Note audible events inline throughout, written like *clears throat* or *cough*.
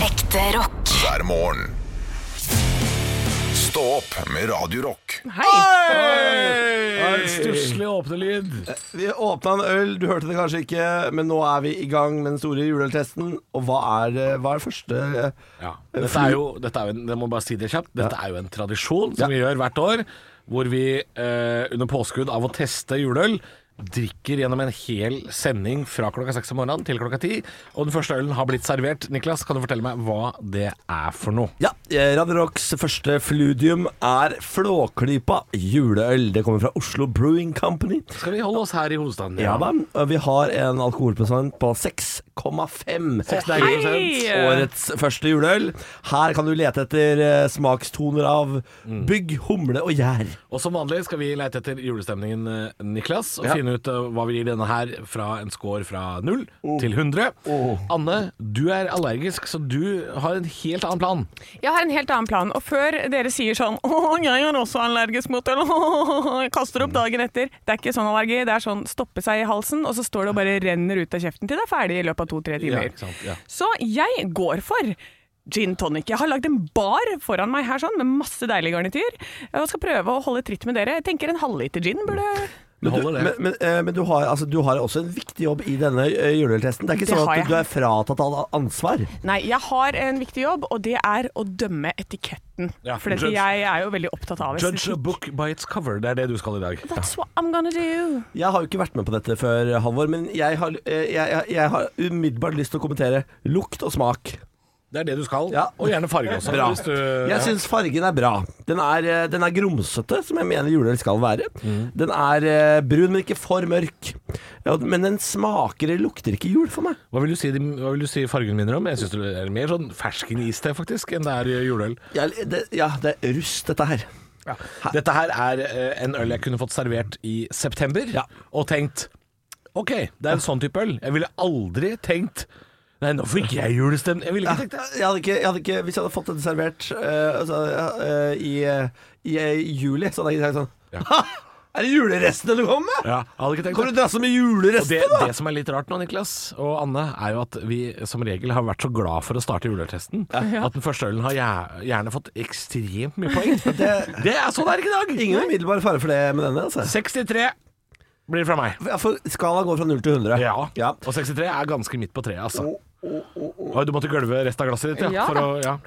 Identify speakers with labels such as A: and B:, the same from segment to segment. A: Ekte rock.
B: hver morgen. Stå opp med Radio Rock.
C: Hei!
D: En stusslig åpnelyd.
E: Vi åpna en øl, du hørte det kanskje ikke, men nå er vi i gang med den store juleøltesten. Og hva er, eh, hva er det første eh,
D: Dette er jo, dette er jo en, jeg må bare si det kjapt, dette er jo en tradisjon som vi gjør hvert år, hvor vi eh, under påskudd av å teste juleøl drikker gjennom en hel sending fra klokka seks om morgenen til klokka ti. Og den første ølen har blitt servert. Niklas, kan du fortelle meg hva det er for noe?
E: Ja, eh, Radio Rocks første fludium er Flåklypa juleøl. Det kommer fra Oslo Brewing Company.
D: Skal vi holde oss her i hovedstaden?
E: Ja da, og Vi har en alkoholprosent på 6,5.
D: Seks deilige prosent.
C: Hei!
E: Årets første juleøl. Her kan du lete etter eh, smakstoner av
D: Mm.
E: bygg, humle og gjær.
D: Og som vanlig skal vi lete etter julestemningen, eh, Niklas, og finne ut eh, hva vi gir denne her fra en score fra 0
C: Oh.
D: til 100. Anne, du er allergisk, så du har en helt annen plan.
C: Jeg har en helt annen plan. Og før dere sier sånn *laughs* Å, jeg er også allergisk mot øl. *laughs* Jeg kaster opp dagen etter. Det er ikke sånn allergi. Det er sånn stoppe seg i halsen, og så står det og bare renner ut av kjeften til det er ferdig i løpet av to-tre timer.
D: ikke sant, ja.
C: Så jeg går for gin tonic. Jeg har lagd en bar foran meg her sånn, med masse deilig garnityr. Og skal prøve å holde tritt med dere. Jeg tenker en halvliter gin burde
D: Det
E: Men du,
D: holder det.
E: men, men, eh, men du, har, altså, du har også en viktig jobb i denne eh, juleøltesten. Det er ikke
C: Det
E: sånn
C: har
E: at
C: jeg.
E: du, du er fratatt all ansvar.
C: Nei, jeg har en viktig jobb, og det er å dømme etiketten.
D: Ja,
C: for
D: judge.
C: jeg er jo veldig opptatt av
D: Judge a book by its cover, det er det du skal i dag.
C: That's what I'm gonna do.
E: Jeg har jo ikke vært med på dette før, Halvor, men jeg har, eh, jeg, jeg, jeg har umiddelbart lyst til å kommentere lukt og smak.
D: Det er det du skal,
E: Ja.
D: og gjerne farge også.
E: Bra.
D: hvis du-
E: Jeg syns fargen er bra. Den er, eh, den er grumsete, som jeg mener juleøl skal være. Den er eh, brun, men ikke for mørk. Ja, Men den smaker eller lukter ikke jul for meg.
D: hva, vil du si, de- hva vil du si fargen minner om? Jeg syns det er mer sånn ferskeniste, faktisk, enn det er eh, juleøl.
E: Jeg, det, ja, det er rust, dette her.
D: Dette her er eh, en øl jeg kunne fått servert i september
E: Ja.
D: og tenkt Ok, det er en sånn type øl. Jeg ville aldri tenkt Nei, nå fikk jeg julestemning. Jeg ville
E: Ja,
D: ikke tenkt det.
E: jeg hadde ikke, jeg hadde ikke, hvis jeg hadde fått dette servert eh, altså, eh, i, eh, i, eh, juli, så hadde jeg ikke sagt sånn Ha! Er det julerestene du kommer med?
D: Ja, jeg hadde ikke tenkt
E: Kommer
D: det.
E: du drasse med
D: Og det,
E: julerestene, da?
D: det som er litt rart nå, Niklas og Anne, er jo at vi som regel har vært så glad for å starte juleøltesten at den første ølen har gjer- gjerne fått ekstremt mye
E: *laughs*
D: poeng. det, *laughs* er sånn det er ikke i dag.
E: Ingen umiddelbar fare for det med denne. Altså.
D: 63 blir det fra meg.
E: Ja, For skala går fra 0 til 100.
D: Ja. Og 63 er ganske midt på treet, altså. Oi, Du måtte gølve resten av glasset ditt, ja.
C: Ja.
D: For å, ja.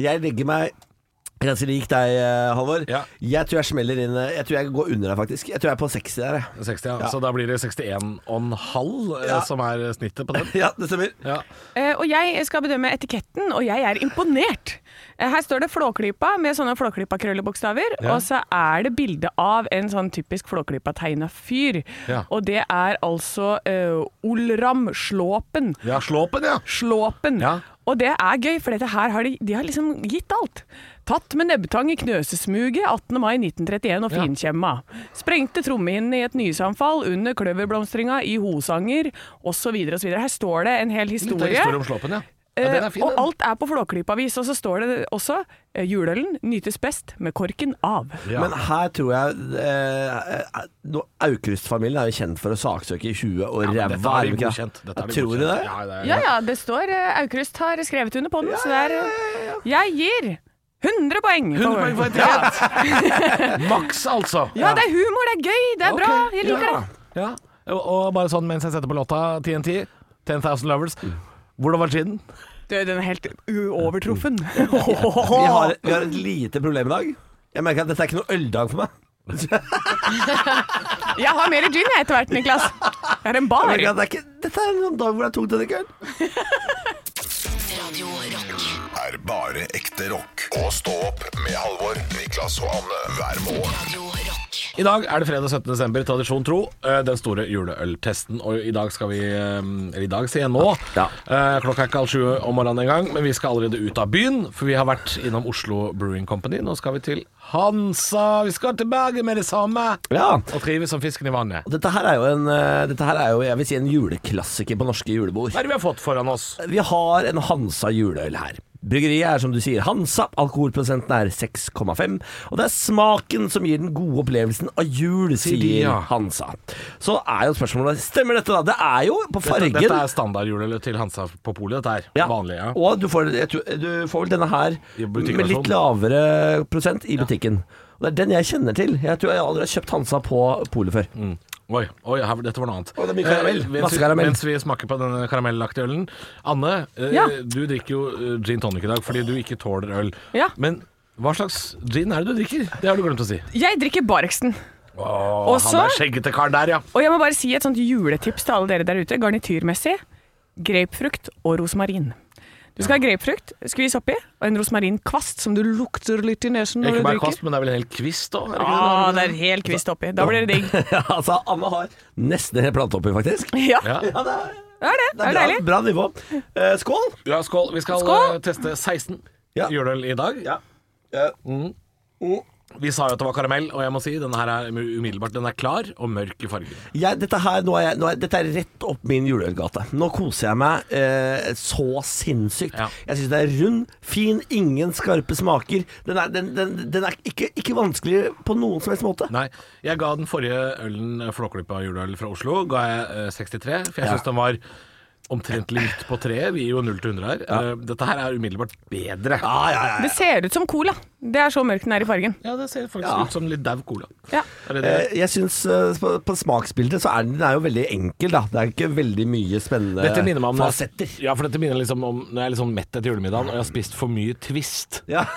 E: Jeg legger meg ganske lik deg, eh, Halvor.
D: Ja.
E: Jeg tror jeg smeller inn eh, Jeg tror jeg går under deg, faktisk. Jeg tror jeg er på 60 der, jeg. *laughs*
D: 60, ja. Så da blir det 61,5 eh,
E: Ja.
D: som er snittet på den.
E: *laughs* Ja, det stemmer.
D: Ja.
C: Eh, og jeg skal bedømme etiketten, og jeg er imponert. Eh, her står det Flåklypa med sånne Flåklypa-krøllebokstaver,
D: Ja.
C: og så er det bilde av en sånn typisk Flåklypa-tegna fyr.
D: Ja.
C: Og det er altså eh, Olram Slåpen.
D: ja, slå opp en, ja.
C: Slåpen.
D: Ja.
C: Og det er gøy, for dette her har de, de har liksom gitt alt. Tatt med nebbtang i knøsesmuget 18. mai 1931 og
D: Ja.
C: finkjemma. Sprengte trommehinnen i et nysanfall under kløverblomstringa i Hosanger osv. osv. Her står det en hel
D: Litt av
C: historie.
D: historie om slåpen, ja. ja den er fin,
C: Eh, og
D: den.
C: alt er på Flåklypa-vis. Og så står det også eh, juleølen nytes best med korken av.
D: Ja.
E: Men her tror jeg eh, eh, nå- Aukrust-familien er jo kjent for å saksøke i huet og
D: Ja, men
E: ræva.
D: dette har
E: er
D: de
E: de ikke det?
D: godkjent. Dette har de
E: Tror du
D: godkjent.
E: det?
D: Ja, det er,
C: Ja ja, det står eh, Aukrust har skrevet under på den, så det er eh, Jeg gir 100 poeng!
D: 100 poeng for etikett! Maks, altså.
C: Ja, det er humor, det er gøy, det er bra. Jeg liker det.
D: Ja. Og, og bare sånn mens jeg setter på låta TNT, 10,000 Lovers.
E: Mm.
D: Hvordan var ginen?
C: Du, den er helt uovertruffen.
E: Vi har, vi har et lite problem i dag. Jeg merker at dette er ikke noe øldag for meg. *laughs*
C: Jeg har mer gin jeg, etter hvert, Niklas. Jeg har en
E: Jeg
C: bar.
E: merker at det er ikke, dette er en sånn dag hvor det er tungt å drikke øl.
A: Radio Rock.
B: Er bare ekte rock. Og stå opp med Halvor, Niklas og Anne hver morgen.
A: Radio Rock.
D: I dag er det fredag 17. desember, tradisjon tro, eh, den store juleøltesten. Og i dag skal vi eh, Eller i dag, sier jeg nå.
E: Ja.
D: Eh, Klokka er ikke halv sju om morgenen engang, men vi skal allerede ut av byen. For vi har vært innom Oslo Brewing Company. Nå skal vi til Hansa. Vi skal tilbake med det samme!
E: Ja.
D: Og trives som fisken i vannet.
E: Og Dette her er jo en, eh, dette her er jo, jeg vil si, en juleklassiker på norske julebord.
D: Hva er det vi har fått foran oss?
E: Vi har en Hansa juleøl her. Bryggeriet er som du sier Hansa, alkoholprosenten er 6,5, og det er smaken som gir den gode opplevelsen av jul, sier
D: de, ja.
E: Hansa. Så er jo spørsmålet Stemmer dette, da? Det er jo på fargen.
D: Dette, dette er standardhjulet til Hansa på polet. Dette er
E: Ja,
D: vanlig. Ja.
E: Og du får, jeg tror, du får vel denne her
D: I butikken,
E: med litt
D: sånn.
E: lavere prosent i butikken. Og Det er den jeg kjenner til. Jeg tror jeg aldri har kjøpt Hansa på polet før.
D: Mm. Oi, oi her, dette var noe annet.
E: Å, det blir karamell.
D: Eh, mens,
E: Masse
D: vi,
E: karamell.
D: mens vi smaker på denne karamellaktige ølen. Anne, eh,
C: Ja.
D: du drikker jo eh, gin tonic i dag fordi du ikke tåler øl.
C: Ja.
D: Men hva slags gin er det du drikker? Det har du glemt å si.
C: Jeg drikker Barexen.
D: Åh,
C: Også-
D: han er skjeggete kar der, ja.
C: Og jeg må bare si et sånt juletips til alle dere der ute, garnityrmessig. Grapefrukt og rosmarin. Du skal ha grapefrukt, skvis oppi, og en rosmarinkvast som du lukter litt i nesen når
D: Ikke
C: du
D: bare
C: drikker. Ah.
D: kvast, men det er vel en hel kvist òg?
C: Ja, det er helt kvist oppi. Da blir det digg.
E: Ja, *laughs* altså, Anne har nesten en hel plante oppi, faktisk.
C: Ja,
D: *laughs* Ja.
E: Ja, det er,
C: det er det.
E: det
C: Det
E: er
C: er
E: bra,
C: deilig.
E: bra nivå. Eh, skål!
D: ja, skål. Vi skal
C: Skål.
D: eh, teste 16
E: Ja.
D: juleøl i dag.
E: Ja. Eh, mm.
D: Vi sa jo at det var karamell, og jeg må si denne her er umiddelbart Den er klar og mørk i fargen.
E: Jeg, dette, her, nå er jeg, nå er, dette er rett opp min juleølgate. Nå koser jeg meg eh, så sinnssykt.
D: Ja.
E: Jeg syns den er rund, fin, ingen skarpe smaker. Den er, den, den, den er ikke, ikke vanskelig på noen som helst måte.
D: Nei, jeg ga den forrige ølen eh, Flåklypa juleøl fra Oslo Ga jeg eh, 63, for jeg synes den var Omtrent litt på treet Vi gir jo 0 til 100 her Eh, Dette her er umiddelbart bedre
E: Ja, ja, ja.
C: Det ser ut som cola. Det er så mørk den er i fargen.
D: Ja, det ser faktisk
E: Ja.
D: ut som litt dev cola
C: Ja.
D: Er det det?
E: Eh, Jeg syns eh, på, på smaksbildet så er den, den er jo veldig enkel, da. Det er ikke veldig mye spennende
D: Dette minner meg om
E: Eh, fasetter.
D: Ja, for dette minner liksom om Når jeg er litt sånn mett etter julemiddagen Og jeg har spist for mye twist *laughs*
E: Ja.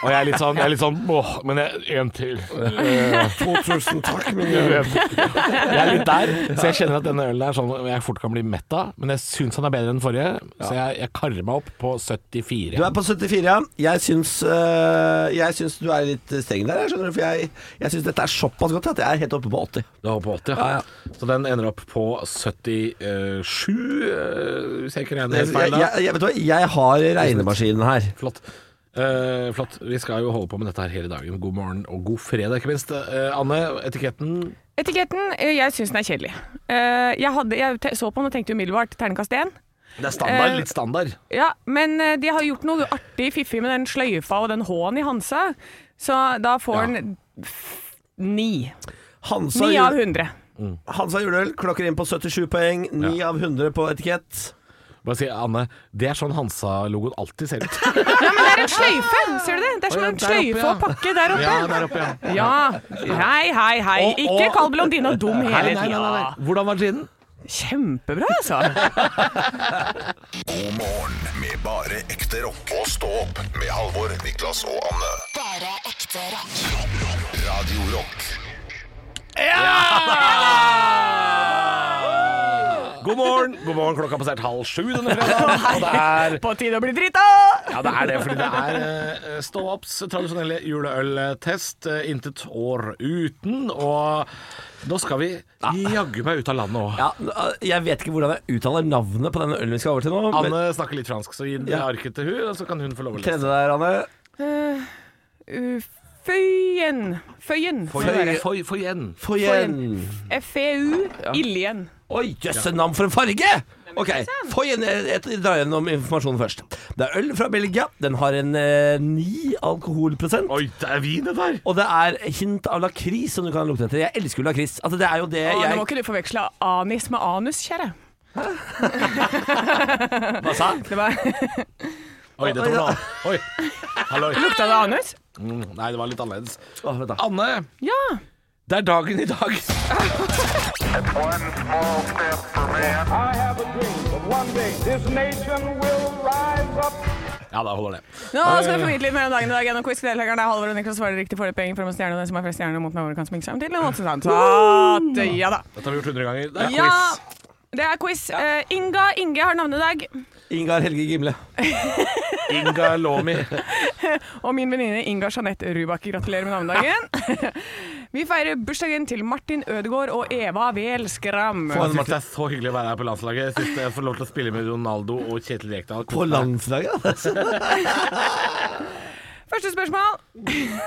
D: Og jeg er litt sånn, jeg er litt sånn Åh, men jeg, en til
E: 2000 Eh, takk,
D: *laughs*
E: min
D: Jeg vet. Jeg er litt der, så jeg kjenner at denne ølen er sånn jeg fort kan bli mett av. Men jeg syns han er bedre enn forrige, så jeg, jeg karrer meg opp på 74.
E: Du er på 74, ja. Jeg syns, eh, jeg syns du er litt streng der, jeg skjønner du. For jeg, jeg syns dette er såpass godt at jeg er helt oppe på 80.
D: Du har på 80, ja. Så den ender opp på 77, eh, hvis jeg ikke regner
E: Jeg,
D: helt
E: jeg,
D: feil. da.
E: jeg, vet du hva, jeg har regnemaskinen her.
D: Flott. Eh, flott. Vi skal jo holde på med dette her hele dagen. God morgen og god fredag, ikke minst. Eh, Anne, etiketten
C: Etiketten, eh, jeg syns den er kjedelig. Eh, Jeg, hadde, jeg te- så på den og tenkte umiddelbart terningkast én.
D: Det er standard,
C: Eh,
D: litt standard.
C: Ja, men eh, de har gjort noe artig fiffig med den sløyfa og den H-en i Hansa, så da får
D: Ja.
C: den f- ni.
E: Hansa,
C: Ni av
E: jule-
C: hundre.
E: Hansa juleøl klokker inn på 77 poeng. 9 av 100 på etikett.
D: Bare si, Anne, det er sånn Hansa-logoen alltid ser ut.
C: Ja, men det er en sløyfe, ser du det? Det er som
D: Å, ja,
C: en
D: der oppe,
C: sløyfe
D: ja.
C: og pakke der oppe.
D: Ja, der oppe, ja.
C: Ja, hei, hei, hei.
D: Og-
C: Ikke
D: og-
C: kall blondina dum hele
D: Nei, nei, nei, nei.
C: tida.
D: Hvordan var ginen?
C: Kjempebra, altså.
B: God morgen med bare ekte rock. Og stå opp med Halvor, Niklas og Anne.
A: Bare ekte rock.
B: Radio Rock
D: God morgen. God morgen. Klokka har passert halv sju denne *laughs* fredagen. Og det *laughs* er,
C: På tide å bli drita!
D: ja, det er det, fordi det er eh, stå-opps tradisjonelle juleøltest. eh, Intet år uten. Og nå skal vi jaggu meg ut av landet òg.
E: Ja, jeg vet ikke hvordan jeg uttaler navnet på denne ølen vi skal over til nå. men-
D: Anne snakker litt fransk, så gi den
E: Ja.
D: arket til hun, og så kan hun få lov å lese.
E: Tredje der, Anne.
C: Uh, Føyen.
E: Føyen.
C: Føyen.
D: Få få igjen.
E: Få igjen.
C: FEU. Iljen.
E: Oi, jøsse navn for en farge! Ok, få igjen, jeg, jeg drar gjennom informasjonen først. Det er øl fra Belgia. Den har en eh, 9 alkoholprosent.
D: Oi, det er vin, det der!
E: Og det er hint av lakris som du kan lukte etter. Jeg elsker jo lakris. Altså, det er jo det
C: Å, Ah, nå må
E: jeg
C: ikke du forveksle anis med anus, kjære. *laughs*
E: Hva sa?
C: Det var,
D: Oi, dette var noe annet. Oi. Halloi.
C: lukta det anus?
D: Mm, Nei, det var litt annerledes.
E: Å, vent da.
D: Anne,
C: Ja.
D: det er dagen i dag.
F: One small step for man.
G: I have a dream that one day this nation will rise up.
D: Ja, da holder det.
C: Nå skal vi få vite litt mer om dagen i dag gjennom quiz. Deltakerne er Halvor og Niklas svarer riktig får det poeng fra en stjerne, og den som har flest stjerner mot meg, hvor kan sminke seg om til. Og masse sånt. Så, at- ja da.
D: Dette har vi gjort 100 ganger. Det er
C: Ja,
D: quiz.
C: det er quiz. Eh, Inga Inge har navnedag,
E: Ingar Helge Gimle.
D: Inga Lomi.
C: og min venninne Inga Jeanette Rubakke gratulerer med navnedagen. Vi feirer bursdagen til Martin Ødegaard og Eva Wehl Skram.
D: Jeg synes det er så hyggelig å være her på landslaget. Jeg synes jeg får lov til å spille med Ronaldo og Kjetil Rekdal.
E: På landslaget?
C: Første spørsmål. *laughs* det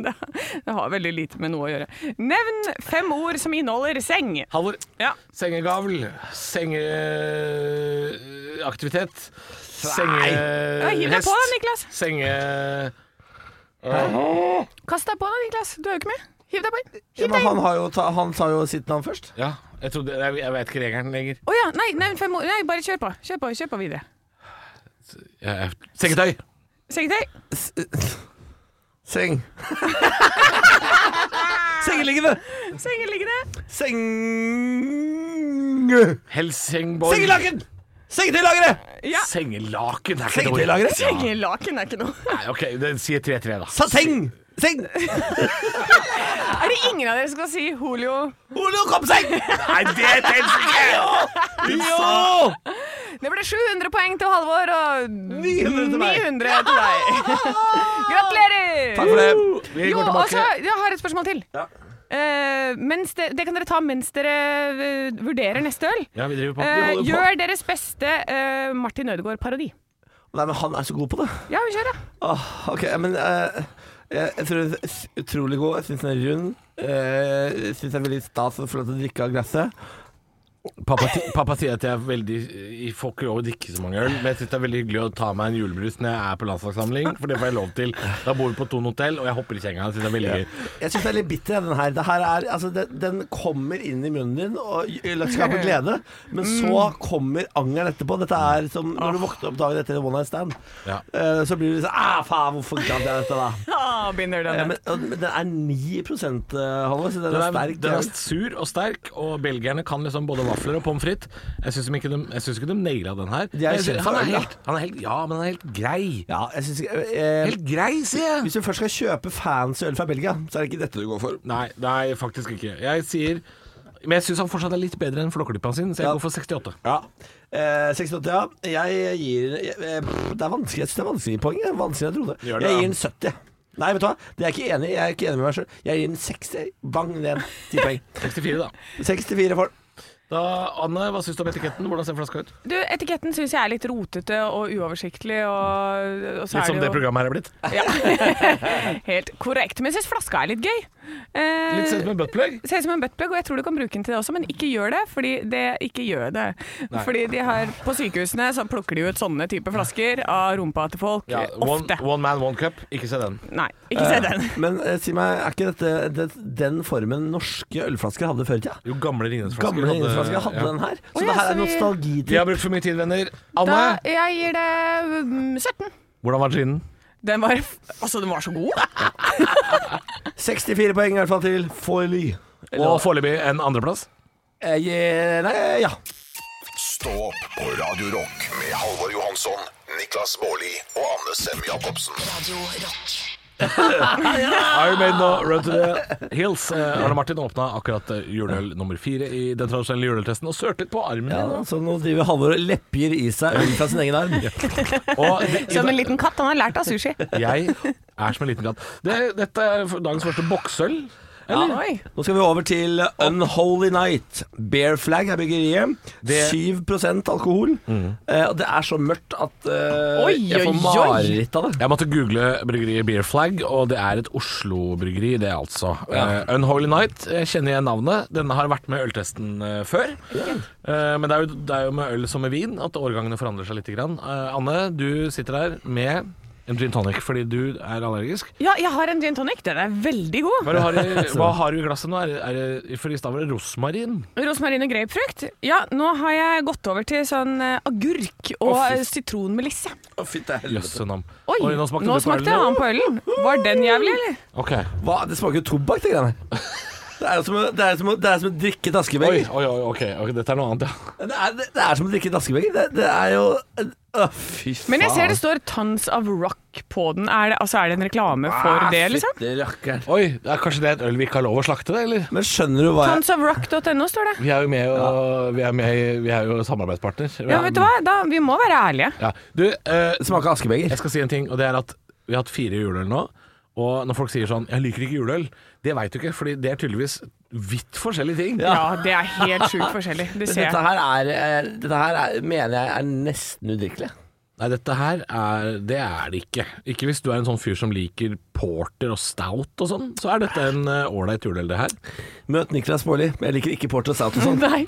C: det har veldig lite med noe å gjøre. Nevn fem ord som inneholder seng.
D: Halvor.
C: Ja.
D: Sengegavl. eh, Sengeaktivitet.
C: Nei, hiv deg
D: Sengehest.
C: på da, Niklas.
D: Senge...
C: Kast deg på da, Niklas. Du er jo ikke med. Hiv deg på.
E: Ja,
C: Hiv
E: men
C: deg inn.
E: han, har jo ta, han sa jo sitt navn først.
D: Ja, jeg, trodde, jeg, jeg vet ikke regelen lenger.
C: Å ja. Nei, nevn fem ord. Nei, bare kjør på. Kjør på, kjør på videre.
D: Eh, Sengetøy.
C: Sengetøy.
E: Seng. *laughs* Sengeliggende.
C: Sengeliggende.
E: Seng...
D: Helsingborg.
E: Sengelaken! Sengetøylageret!
C: Ja.
D: Sengelaken er ikke et ord.
E: Sengetøylageret?
C: Sengelaken er ikke noe.
D: Nei, ok, det sier 3-3, da.
E: Sa seng! Seng!
C: *laughs* Er det ingen av dere som skal si Holio?
E: Ole, kom seng!
D: Nei, det teller ikke!
E: Jo!
C: Det ble 700 poeng til Halvor og
E: 900 til meg.
C: 900 til *laughs* deg. Gratulerer!
E: Takk for det.
D: Vi
C: Jo,
D: går
C: og så
D: tilbake.
C: jeg har et spørsmål til. Eh, mens det, det kan dere ta mens dere eh, vurderer neste øl.
D: Ja, vi driver på.
C: Eh,
E: holder på.
C: gjør deres beste eh, Martin Ødegaard-parodi.
E: Nei, men han er så god på det.
C: Ja, vi kjører.
E: Åh, Ah, ok, men eh, jeg, jeg tror den er s- utrolig god. Jeg syns den er rund. Eh, Jeg syns det er veldig stas å få lov til å drikke av glasset.
D: Pappa, ti- pappa sier at jeg er veldig eh, Jeg får ikke lov å drikke så mange øl, men jeg syns det er veldig hyggelig å ta meg en julebrus når jeg er på landslagssamling, for det får jeg lov til. Da bor vi på Thon hotell, og jeg hopper i senga. Jeg synes det er veldig gøy.
E: Jeg syns den er litt bitter, den her. Det her er, altså, den, den kommer inn i munnen din og gj-
D: *laughs*
E: skaper glede, men så
D: Mm.
E: kommer angeren etterpå. Dette er som når du våkner opp dagen etter en one night stand.
D: Ja.
E: Eh, Så blir du sånn Ah, faen, hvorfor gadd jeg dette,
D: *laughs*
E: da?
C: Ah, binder
E: Eh,
C: denne.
E: Men, og- men den er 9 eh, Halvor, så den
D: Den
E: er
D: er,
E: sterk.
D: den er sur og sterk, og belgierne kan liksom både vafler og pommes frites. Jeg syns ikke, de- jeg synes ikke de naila den her. Men jeg synes, han, er helt, han er helt Ja, men han er helt grei.
E: Ja, jeg synes, ikke- eh,
D: Helt grei, sier jeg.
E: Hvis du først skal kjøpe fancy øl fra Belgia, så er det ikke dette du går for.
D: Nei, nei, faktisk ikke. Jeg sier Men jeg syns han fortsatt er litt bedre enn flåklypa sin, så jeg
E: Ja.
D: går for 68.
E: Ja. Eh, 68, ja. Jeg gir jeg, eh, Det er vanskelig, jeg synes det er vanskelig poeng. Det er Vanskeligere enn jeg trodde.
D: Gjør det,
E: jeg
D: ja.
E: gir den 70. Nei, vet du hva. Det er jeg ikke enig i. Jeg er ikke enig med meg selv. Jeg gir den 60. Bang ned.
D: *laughs*
E: 10 poeng.
D: 64, da.
E: 64 for den.
D: Da, Anne, hva syns du om etiketten? Hvordan ser flaska ut?
C: Du, etiketten syns jeg er litt rotete og uoversiktlig, og, og så
D: Litt som det Eh,
C: er det jo
D: programmet her er blitt.
C: helt korrekt. Men jeg syns flaska er litt gøy. Eh,
D: Litt sett med buttplug.
C: Ser ut som en buttplug, og jeg tror du kan bruke den til det også, men ikke gjør det, fordi det ikke gjør det. Fordi de har, på sykehusene så plukker de ut sånne type flasker av rumpa til folk.
D: Ja, one,
C: ofte.
D: one man, one cup. Ikke se den.
C: Nei, ikke se den.
E: Men eh, si meg, er ikke dette det, den formen norske ølflasker hadde før i tida?
D: Jo, gamle Ringnes-flasker.
E: Gamle
D: hadde-
E: innflasker hadde den her. Så
C: Å ja,
E: det her
C: så
E: er
C: vi-
E: nostalgi
D: Vi
E: til
D: har brukt for mye tid, venner.
C: Da,
D: Anne,
C: jeg gir det mm, 17.
D: hvordan var ginen?
C: Den var f- Altså, den var så god.
E: 64 poeng i hvert fall til Foily.
D: Og foreløpig en andreplass.
E: Jeg gir Nei, ja.
B: Stå opp på Radio Rock med Halvor Johansson, Niklas Baarli og Anne Sem Jacobsen.
A: Radio Rock.
D: I made no run to the hills. Eh, Arne Martin åpna akkurat eh, juleøl nummer fire i den tradisjonelle juleøltesten og sørtet på armen.
E: Ja, så nå driver Halvor og lepper i seg øl fra sin egen arm.
D: Og det,
C: *laughs* Som en liten katt. Han har lært av sushi.
D: jeg er som en liten katt. Det, dette er for- dagens første boksøl.
C: Oi.
E: Nå skal vi over til Unholy Night. Bear Flag er byggeriet. 7 alkohol. Eh, Og det er så mørkt at eh,
C: Mm. Oi,
E: jeg får
C: oi, oi.
E: mareritt av det.
D: Jeg måtte google bryggeriet Beer Flag, og det er et Oslo-bryggeri, det altså.
E: Ja.
D: Eh, Unholy Night, jeg kjenner igjen navnet. Denne har vært med i øltesten eh, før. Eh, men det er, jo, det er jo med øl som med vin at årgangene forandrer seg litt. Grann. Eh, Anne, du sitter her med en gin tonic fordi du er allergisk.
C: Ja, jeg har en gin tonic. Den er veldig god.
D: Hva har, du, *laughs* hva har du i glasset nå? Er, det- er det, for i stad var det rosmarin.
C: Rosmarin og grapefrukt. Ja, nå har jeg gått over til sånn eh, agurk og
E: Å, fy.
C: eh, sitronmelisse.
E: Å, fy, det, er helvete.
D: Jøsse navn.
C: Oi, nå smakte, han på ølen. Var den jævlig, eller?
D: Ok.
E: Hva? det smaker jo tobakk, det greiene her. Det er jo som, å- det er som, å- det er som å drikke et
D: Oi,
E: askebeger.
D: oi, oi, ok. ok, Dette er noe annet, ja.
E: Det, er- det, det er som å drikke et askebeger. Det, det er jo Å, fy faen.
C: Men jeg ser det står 'Tons of Rock' på den. Er det, altså, er det en reklame for det, liksom?
E: Fytti rakkeren.
D: Oi, det er kanskje det er et øl vi ikke har lov å slakte, det, eller?
E: Men skjønner du hva jeg
C: Tonsofrock.no står det.
D: Vi er jo med, og vi er, med, i- vi er jo samarbeidspartner.
C: Ja, vet du hva? Da, vi må være ærlige.
D: Ja. Du, eh,
E: Det smaker askebeger.
D: jeg skal si en ting, og det er at vi har hatt fire juleøl nå. Og når folk sier sånn 'jeg liker ikke juleøl', det veit du ikke, fordi det er tydeligvis vidt forskjellige ting.
C: Ja, det er helt sjukt forskjellig. Det ser
E: Dette
C: jeg.
E: her, er, eh, dette her er, mener jeg er nesten udrikkelig.
D: Nei, dette her er Det er det ikke. Ikke hvis du er en sånn fyr som liker porter og stout og sånn. Så er dette en eh, ålreit juleøl, det her.
E: Møt Niklas Baarli. Jeg liker ikke Porter Stout og sånn.
C: Nei.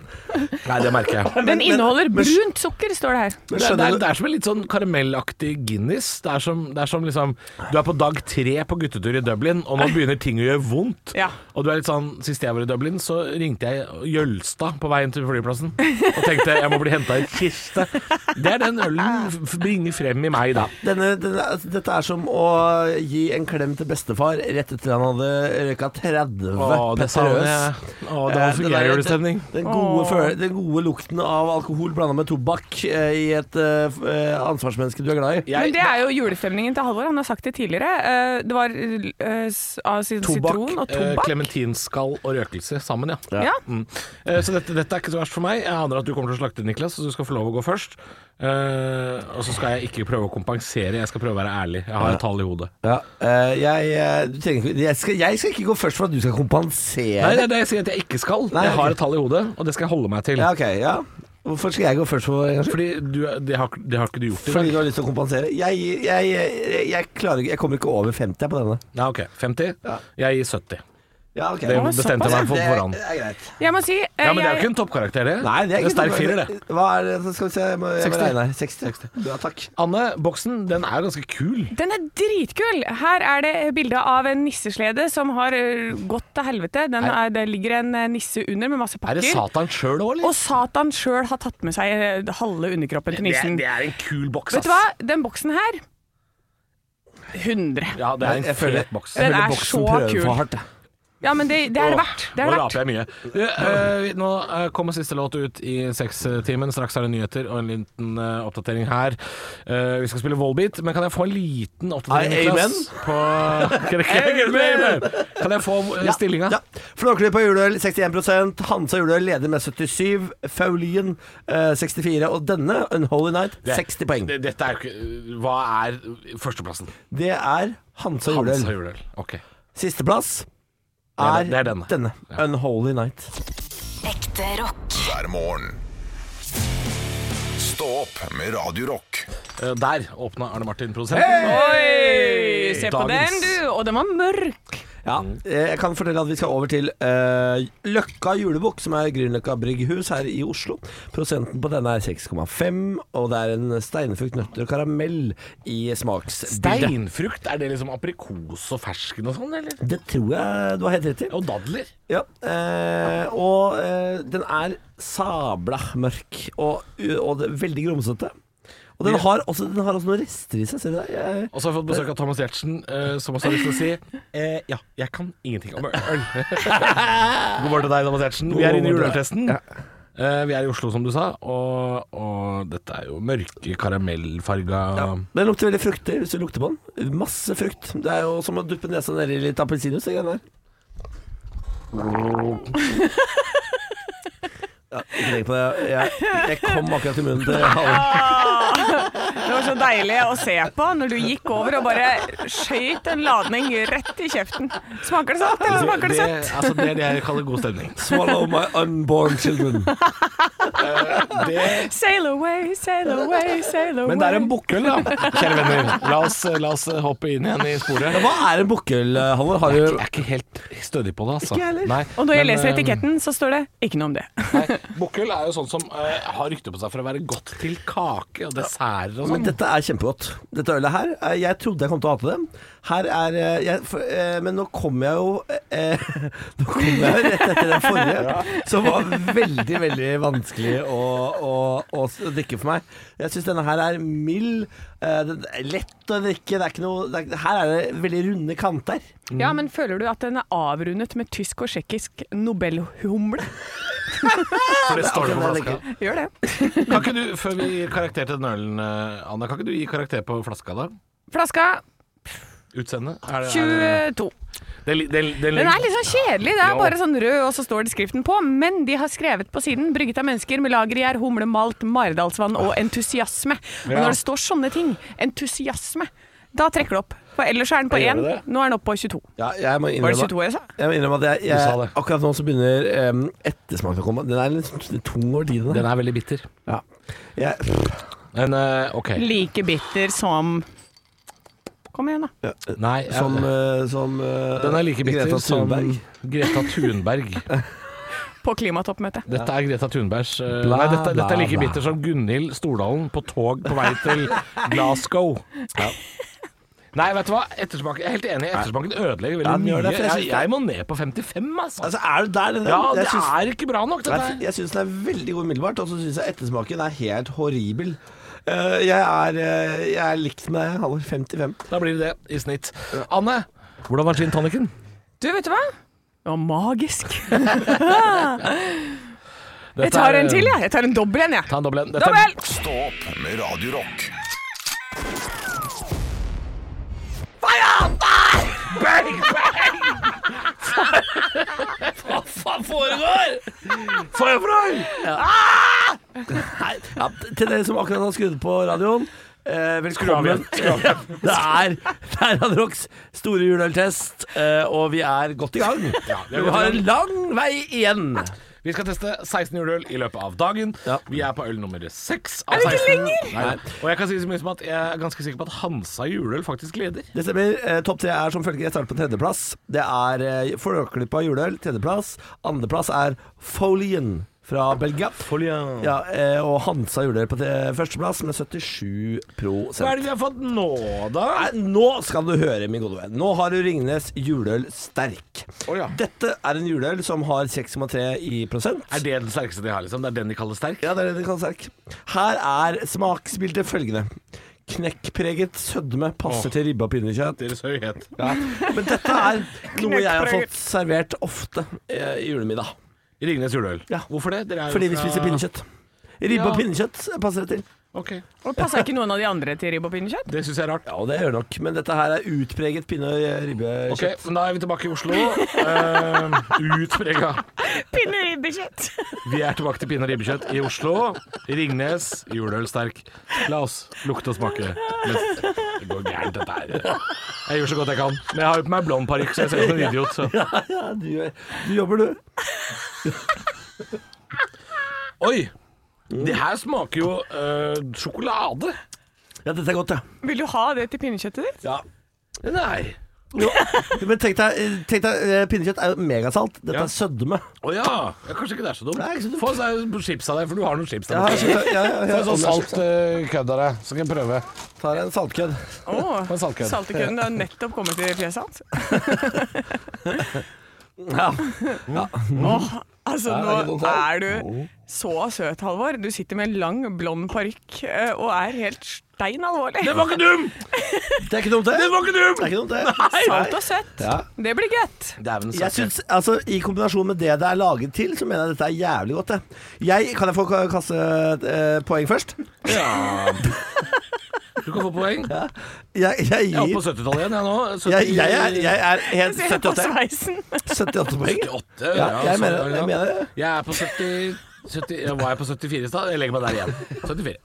D: Nei, det merker jeg.
C: *laughs* Den inneholder brunt sukker, står det her.
D: Det, er- det, er, det er som en litt sånn karamellaktig Guinness. Det er, som, det er som liksom Du er på dag tre på guttetur i Dublin, og nå begynner ting å gjøre vondt.
C: Ja.
D: Og du er litt sånn Sist jeg var i Dublin, så ringte jeg Jølstad på veien til flyplassen og tenkte jeg må bli henta i kiste. Det er den ølen f- bringer frem i meg da.
E: Denne, denne, altså, dette er som å gi en klem til bestefar rett etter han hadde røyka 30
D: Åh, det
E: Petter
D: savner
E: Øes.
D: jeg. Åh, det var
E: Eh,
D: så
E: den
D: gøy
E: der-
D: julestemning.
E: Den, den, gode
C: Åh.
E: føle- den gode lukten av alkohol blanda med tobakk eh, i et eh, f- eh, ansvarsmenneske du er glad i.
C: Men det er jo julestemningen til Halvor. Han har sagt det tidligere. Eh, Det var eh, s- av sin sitron og
D: eh,
C: tobakk.
D: klementinskall og røkelse sammen, ja.
C: ja.
D: Mm. Eh, Så dette, dette er ikke så verst for meg. Jeg aner at du kommer til å slakte Niklas, så du skal få lov å gå først. Eh, og så skal jeg ikke prøve å kompensere, jeg skal prøve å være ærlig. Jeg har et tall i hodet.
E: Ja, eh, jeg, eh, du trenger ikke, jeg, skal, jeg skal ikke gå først for at du skal kompensere.
D: Nei, det er det jeg sier at jeg ikke skal.
E: Nei,
D: Jeg har
E: ok.
D: et tall i hodet, og det skal jeg holde meg til.
E: Ja, ok, ja. Hvorfor skal jeg gå først for en gang skyld?
D: Fordi du, det, har, det har ikke du gjort i
E: Fordi
D: dag.
E: du har lyst til å kompensere? Jeg, gir- jeg, jeg, jeg klarer ikke Jeg kommer ikke over 50 på denne.
D: Ja, ok. 50?
E: Ja.
D: Jeg gir 70.
E: Ja, ok.
D: Det
E: Ja,
D: bestemte jeg meg for på forhånd.
E: Det er greit.
C: Jeg må si eh,
D: Ja, men det er jo
C: jeg,
D: ikke en toppkarakter, det.
E: Nei, det er ikke
D: sterk firer, det.
E: Hva er det? Så Skal vi se, jeg må, jeg må
D: 60.
E: regne her. 60. Ja, takk.
D: Anne, boksen den er ganske kul.
C: den er dritkul! Her er det bilde av en nisseslede som har eh, gått til helvete. Den
D: Er-
C: er, det ligger en eh, nisse under med masse
D: Er det
C: pakker.
D: Satan sjøl òg, eller?
C: Og Satan sjøl har tatt med seg eh, halve underkroppen til nissen.
D: er en kul boks,
C: Vet du hva? Den boksen her 100.
D: Ja, det er en
E: Jeg føler-
D: fet boks.
C: Den
E: Føler
C: er
E: boksen
C: så
E: prøver
C: kul.
E: for hardt, jeg.
C: Ja, men det, det er det
D: Åh,
C: verdt. Det er
D: nå
C: det verdt.
D: raper jeg mye. Du, eh, nå eh, kommer siste låt ut i sekstimen. Straks er det nyheter og en liten eh, oppdatering her. Eh, vi skal spille Volbeat, men kan jeg få en liten oppdatering?
E: Amen.
D: Niklas, På...
E: *laughs*
D: Kan jeg- Amen. Kan jeg få uh, stillinga?
E: Ja. Flåklypa juleøl 61 Hansa juleøl leder med 77. Faulien eh, 64. Og denne, Unholy Night, 60 poeng.
D: Det- Dette er jo ikke Hva er førsteplassen?
E: Det er
D: Hans
E: Hansa juleøl.
D: Høyerdøl. Ok. Eh,
E: Sisteplass
D: er-
E: er,
D: det er denne.
E: denne. Unholy Night.
A: Ekte rock.
B: hver morgen. Stå opp med Radio Rock.
D: Eh, der åpna Arne Martin produsenten.
C: Oi! Se på
D: Dagens.
C: den, du. Og den var mørk.
E: Ja, eh, jeg kan fortelle at vi skal over til eh, Løkka julebukk, som er Grünerløkka brygghus her i Oslo. Prosenten på denne er 6,5, og det er en steinfrukt, nøtter og karamell i smaksbildet.
D: Steinfrukt, er det liksom aprikos og fersken og sånn, eller?
E: Det tror jeg du har helt rett i.
D: Og dadler.
E: Ja, eh, og eh, den er sabla mørk og, og det, veldig grumsete. Og den har, også, den har også noen rester i seg, ser du det? Jeg-
D: Og så har jeg fått besøk av Thomas Giertsen, eh, som også har lyst til å si eh, Ja, jeg kan ingenting om øl.
C: *laughs*
D: God morgen til deg, Thomas Giertsen. Vi er inne i
E: morgen til
D: juleøltesten. Eh, vi er i Oslo, som du sa, og, og dette er jo mørke karamellfarga
E: Den lukter veldig fruktig hvis du lukter på den. Masse frukt. Det er jo som å duppe nesa nedi litt appelsinjuice. det greiene der. Ja, ikke tenk på det. Jeg, jeg kom akkurat i munnen til Halvor.
C: Det var så deilig å se på når du gikk over og bare skøyt en ladning rett i kjeften. Smaker det søtt, eller smaker det
D: det,
C: søtt?
D: altså, det er det jeg kaller god stemning.
E: Swallow my unborn children.
C: Sail away, sail away, sail away.
D: Men det er en bukkøl, da, kjære venner. La oss, la oss hoppe inn igjen i sporet.
E: Hva er en bukkøl, Halvor? Har
D: Jeg
E: du
D: er ikke helt stødig på det, altså.
E: Ikke jeg heller.
D: Nei,
C: Og når jeg
D: men,
C: leser
D: eh, Mm.
C: etiketten, så står det 'ikke noe om det'.
D: Nei, Bukkel er jo sånn som eh, har rykte på seg for å være godt til kake og desserter og
E: Men
D: sånn.
E: dette er kjempegodt. Dette ølet her eh, Jeg trodde jeg kom til å hate det. Her er eh, jeg, for, eh, Men nå kom jeg jo eh, *laughs* Nå kom jeg jo rett etter den *laughs* forrige, som var veldig, veldig vanskelig å, å, å s- drikke for meg. Jeg syns denne her er mild. Eh, den er lett å drikke. Det er ikke noe det er, Her er det veldig runde kanter.
C: Ja, men føler du at den er avrundet med tysk og tsjekkisk nobelhumle?
D: For det står det på
E: akkurat det jeg
D: flaska.
C: Gjør det.
D: Kan ikke du, før vi gir karakter til den ølen, eh, Anna, kan ikke du gi karakter på flaska, da?
C: Flaska
D: Utseende? Er det- er
C: 22.
D: det- den li- den- den
C: Den
D: ligger-
C: er litt sånn kjedelig. Det
D: Ja.
C: er bare sånn rød, og så står det skriften på. Men de har skrevet på siden 'Brygget av mennesker med lagergjær, humle, malt, maridalsvann og entusiasme'. Og
D: Ja.
C: når det står sånne ting, entusiasme, da trekker det opp. For ellers er den på
D: Gjør
C: 1.
D: det det?
C: Nå er den oppe på 22.
E: Ja, jeg må
C: Var det
E: innrømme
C: 22 jeg sa?
E: jeg må innrømme at jeg,
D: sa
E: jeg,
D: det.
E: akkurat nå så begynner eh, um, ettersmaken å komme. Den er litt sånn tung over tiden.
D: Den er veldig bitter.
E: Ja. Jeg,
D: Men eh, OK.
C: Like bitter som Kom igjen, da.
D: Nei, jeg-
E: Som, eh, som eh,
D: den er like bitter
E: Greta Thunberg.
D: som Greta Thunberg.
C: På klimatoppmøtet.
D: Dette er Greta Thunbergs eh,
E: Bla,
D: Nei, dette, dette
E: bla,
D: er like
E: bla.
D: bitter som Gunhild Stordalen på tog på vei til Glasgow. Nei, vet du hva? Ettersmaken, jeg er helt enig. Ettersmaken ødelegger veldig
E: Ja, den gjør
D: mye.
E: det, for jeg
D: jeg,
E: synes-
D: jeg må ned på 55, altså.
E: Altså, er du der? Den,
D: ja, det
E: jeg syns-
D: er ikke bra nok, dette
E: Nei,
D: her.
E: jeg syns den er veldig god umiddelbart, og så syns jeg ettersmaken er helt horribel. Eh, jeg, er, eh, jeg er likt med deg, Halvor. 55.
D: Da blir det det i snitt. Anne, hvordan var gin tonicen?
H: Du, vet du hva?
C: Det var magisk.
D: Dette
C: Jeg tar
D: er- eh,
C: en til, jeg. Jeg tar en dobbel en, jeg.
D: Ta en dobbel en. Dette er-
C: Dobbel!
B: Stå opp med Radio Rock.
D: Hva faen foregår? Foregår!
E: Ah! *laughs* Ja, til dere som akkurat har skrudd på radioen. Eh, velkommen. *laughs* Det er, det er Rad Rocks store juleøltest, eh, og vi er godt i gang.
D: vi er
E: vi
D: godt i
E: har
D: gang.
E: en lang vei igjen.
D: Vi skal teste 16 juleøl i løpet av dagen.
E: Ja.
D: Vi er på øl nummer 6 av 16. Er det ikke lenger? Nei. Og jeg kan si så mye som at jeg er ganske sikker på at Hansa juleøl faktisk leder.
E: Det stemmer. Eh, Topp tre er som følger. Jeg starter på tredjeplass. Det er eh, Flåklypa juleøl, tredjeplass. Andreplass er Folien fra Belgia. Ja, eh, og Hansa juleøl på te- førsteplass med 77
D: Hva er det vi har fått nå, da?
E: Nei, nå skal du høre, min gode venn. Nå har du Ringnes juleøl sterk.
D: Å ja.
E: Dette er en juleøl som har 6,3 i prosent.
D: Er det den sterkeste de har, liksom? Det er den de kaller sterk?
E: Ja, det er det de kaller sterk. Her er smaksbildet følgende. Knekkpreget sødme passer til ribba og pinnekjøtt.
D: Deres høyhet.
E: Ja. Men dette er noe jeg har fått servert ofte eh, i julemiddag.
D: Ringnes juleøl.
E: Ja.
D: Hvorfor det? Dere er jo
E: Fordi vi
D: fra-
E: spiser pinnekjøtt. Ribbe
D: Ja.
E: og pinnekjøtt passer det til.
D: Ok.
C: Og passa ikke noen av de andre til ribbe og pinnekjøtt?
D: Det syns jeg er rart.
E: Ja, og det gjør nok. Men dette her er utpreget pinne- og ribbekjøtt.
D: Ok, men Da er vi tilbake i Oslo. Uh, Utprega.
C: Pinne ribbekjøtt.
D: Vi er tilbake til pinne- og ribbekjøtt i Oslo. Ringnes, juleøl sterk. La oss lukte og smake. Men det går gærent, dette her. Jeg gjør så godt jeg kan. Men jeg har jo på meg blond parykk, så jeg ser ut som en idiot. Så.
E: *laughs* Ja, du, du jobber, du.
D: Oi!
E: Mm.
D: Det her smaker jo eh, sjokolade.
E: Ja, dette er godt, ja.
C: Vil du ha det til pinnekjøttet ditt?
E: ja.
D: Nei.
E: Jo, men tenk deg, tenk deg eh, pinnekjøtt er jo megasalt. Dette
D: Ja.
E: er sødme.
D: Å ja. ja. Kanskje ikke det er så dumt.
E: Nei, ikke så dumt.
D: Få deg chips av deg, for du har noen chips der
E: Ja,
D: borte.
E: ja, ja,
D: Få en sånn salt eh, kødd av deg, så kan jeg prøve.
E: Tar en saltkødd.
C: Å,
D: en saltkødd.
C: saltekødden har nettopp kommet i fjeset hans.
E: Ja.
C: Åh, altså,
E: Ja, Mm. det er
C: nå
E: ikke
C: er du så søt, Halvor. Du sitter med en lang, blond parykk eh, og er helt stein alvorlig.
D: Det var ikke dum!
E: Det er ikke dumt, det. Det var ikke dumt! Det er ikke dumt, det.
C: Salt og søtt.
E: Ja.
C: Det blir godt.
D: Dæven
E: Jeg
D: søren.
E: synes, altså, I kombinasjon med det det er laget til, så mener jeg dette er jævlig godt. Det. Jeg, kan jeg få ka- kasse eh, poeng først?
D: Ja. Du kan få poeng. Jeg
E: Jeg, jeg
D: er oppe på
E: gir
D: 70-tallet igjen, jeg nå. 70...
E: jeg, jeg, er, jeg er
C: *laughs*
E: helt
C: Ser på
E: 78.
C: sveisen. *laughs*
E: 78 poeng.
D: 88, ja,
E: Ja, jeg
D: sånn
E: mener
D: er
E: det, jeg
D: da.
E: mener det.
D: Jeg er på 70, 70 ja, Var jeg på 74 i stad? Jeg legger meg der igjen. 74.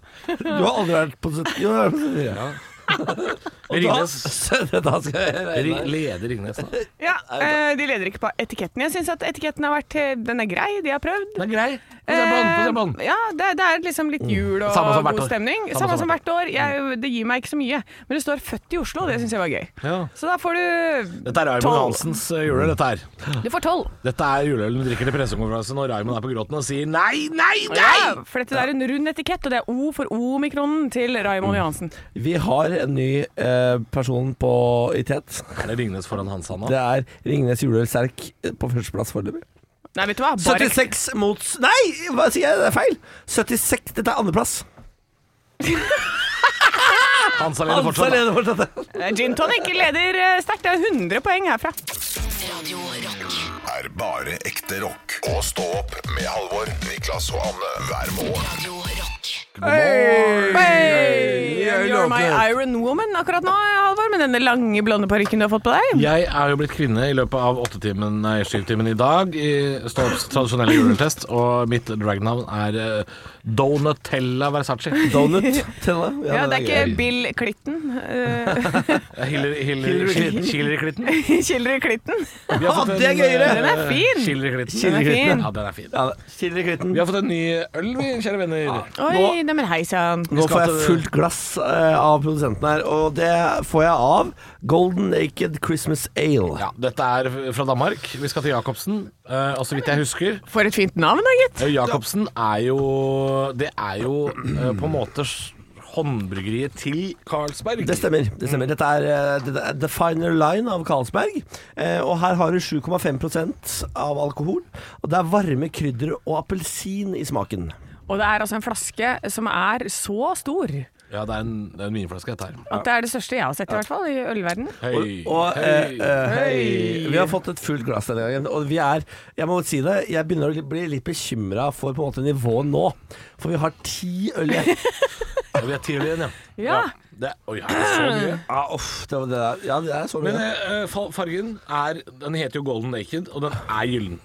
E: Du har aldri vært på 70. Jo, du har vært på 74.
D: Ja.
E: Da,
D: Ringnes
E: da skal jeg regne.
D: Ri- leder Ringnes, da.
C: Ja, eh, de leder ikke på etiketten. Jeg syns at etiketten har vært eh, Den er grei, de har prøvd.
D: Den er grei. Få se på den, få se på den.
C: Eh, ja, det, det er liksom litt jul og
D: Samme som hvert
C: god
D: år.
C: stemning.
D: Samme
C: Samme,
D: som
C: som hvert år. Jeg, det gir meg ikke så mye. Men det står 'født i Oslo', og det syns jeg var gøy.
D: Ja.
C: Så da får du
D: Dette er Raymond
C: Tolv.
D: Hansens eh, juleøl, dette her.
C: Du får tolv.
D: Dette er juleølen du drikker til pressekonferanse når Raymond er på gråten og sier nei, nei, nei!
C: Ja, for dette er en rund etikett, og det er O for omikronen til
D: Mm.
C: Raymond Johansen.
E: Vi har en ny eh, person på i tet.
D: Er det Ringnes foran Hansa nå?
E: Det er Ringnes juleøl sterk på førsteplass foreløpig.
C: Nei, vet du hva. Bare
E: 76 mot Nei, hva sier jeg? Det er feil. 76, Dette er andreplass.
D: Hansa leder
E: Hansa
D: fortsatt. da.
E: leder fortsatt.
C: *laughs* Gin tonic leder eh, sterkt. Det er 100 poeng herfra.
A: Radio Rock.
B: Er bare ekte rock. Og stå opp med Halvor, Niklas og Anne hver morgen.
A: Radio Rock.
C: Hey,
E: Jeg
C: you're my
E: lovte.
C: Iron Woman akkurat nå, Halvor, med denne lange blonde parykken du har fått på deg.
D: Jeg er jo blitt kvinne i løpet av åttetimen, nei, syvtimen i dag i Storms tradisjonelle juletest, og mitt dragnavn er eh, Donatella Versace.
E: Donut. Tella.
C: Ja,
E: gøy.
C: Det er ikke Bill Clinton, eh, *laughs*
D: Hillary, Hillary,
E: Hillary
D: Clinton.
E: Clinton.
D: Hillary Clinton.
C: Kilder i klitten.
D: Vi har
E: Ah,
D: fått
E: det er
D: en, eh,
E: gøyere!
C: Den er fin.
D: Hillary Clinton.
C: Den er fin.
D: Ja, den er fin.
E: Ja, Kilder i klitten.
D: Vi har fått en ny øl, vi, kjære venner.
C: Oi, neimen hei sann.
E: Nå
D: skal
E: får jeg
D: til-
E: fullt glass eh, av produsenten her, og det får jeg av Golden Naked Christmas Ale.
D: Ja, dette er fra Danmark. Vi skal til Jacobsen. Eh, og så vidt jeg husker
C: For et fint navn da, gitt.
D: eh, Jacobsen er jo Det er jo eh, på en måte s- håndbryggeriet til Carlsberg.
E: Det stemmer. det stemmer Dette er eh, det- det er The Finer Line av Carlsberg. eh, Og her har du 7,5 av alkohol. Og det er varme krydder og appelsin i smaken.
C: Og det er altså en flaske som er så stor at
D: Ja, det er en, det er en vinflaske, dette her.
C: det er det største jeg har sett, i hvert fall, i ølverden.
D: Høy.
E: Og eh, eh,
C: Hei.
E: vi har fått et fullt glass denne gangen. Og vi er Jeg må si det, jeg begynner å bli litt bekymra for på en måte nivået nå. For vi har ti øl igjen.
D: Ja,
E: eh,
D: vi er ti øl igjen, ja.
C: Ja.
D: Det, oi, er det så
E: *clears throat*
D: mye?
E: Ja, uff, det, var det, der. ja, det er så
D: Men
E: mye.
D: eh, fa- fargen er Den heter jo Golden Naked, og den er gyllen.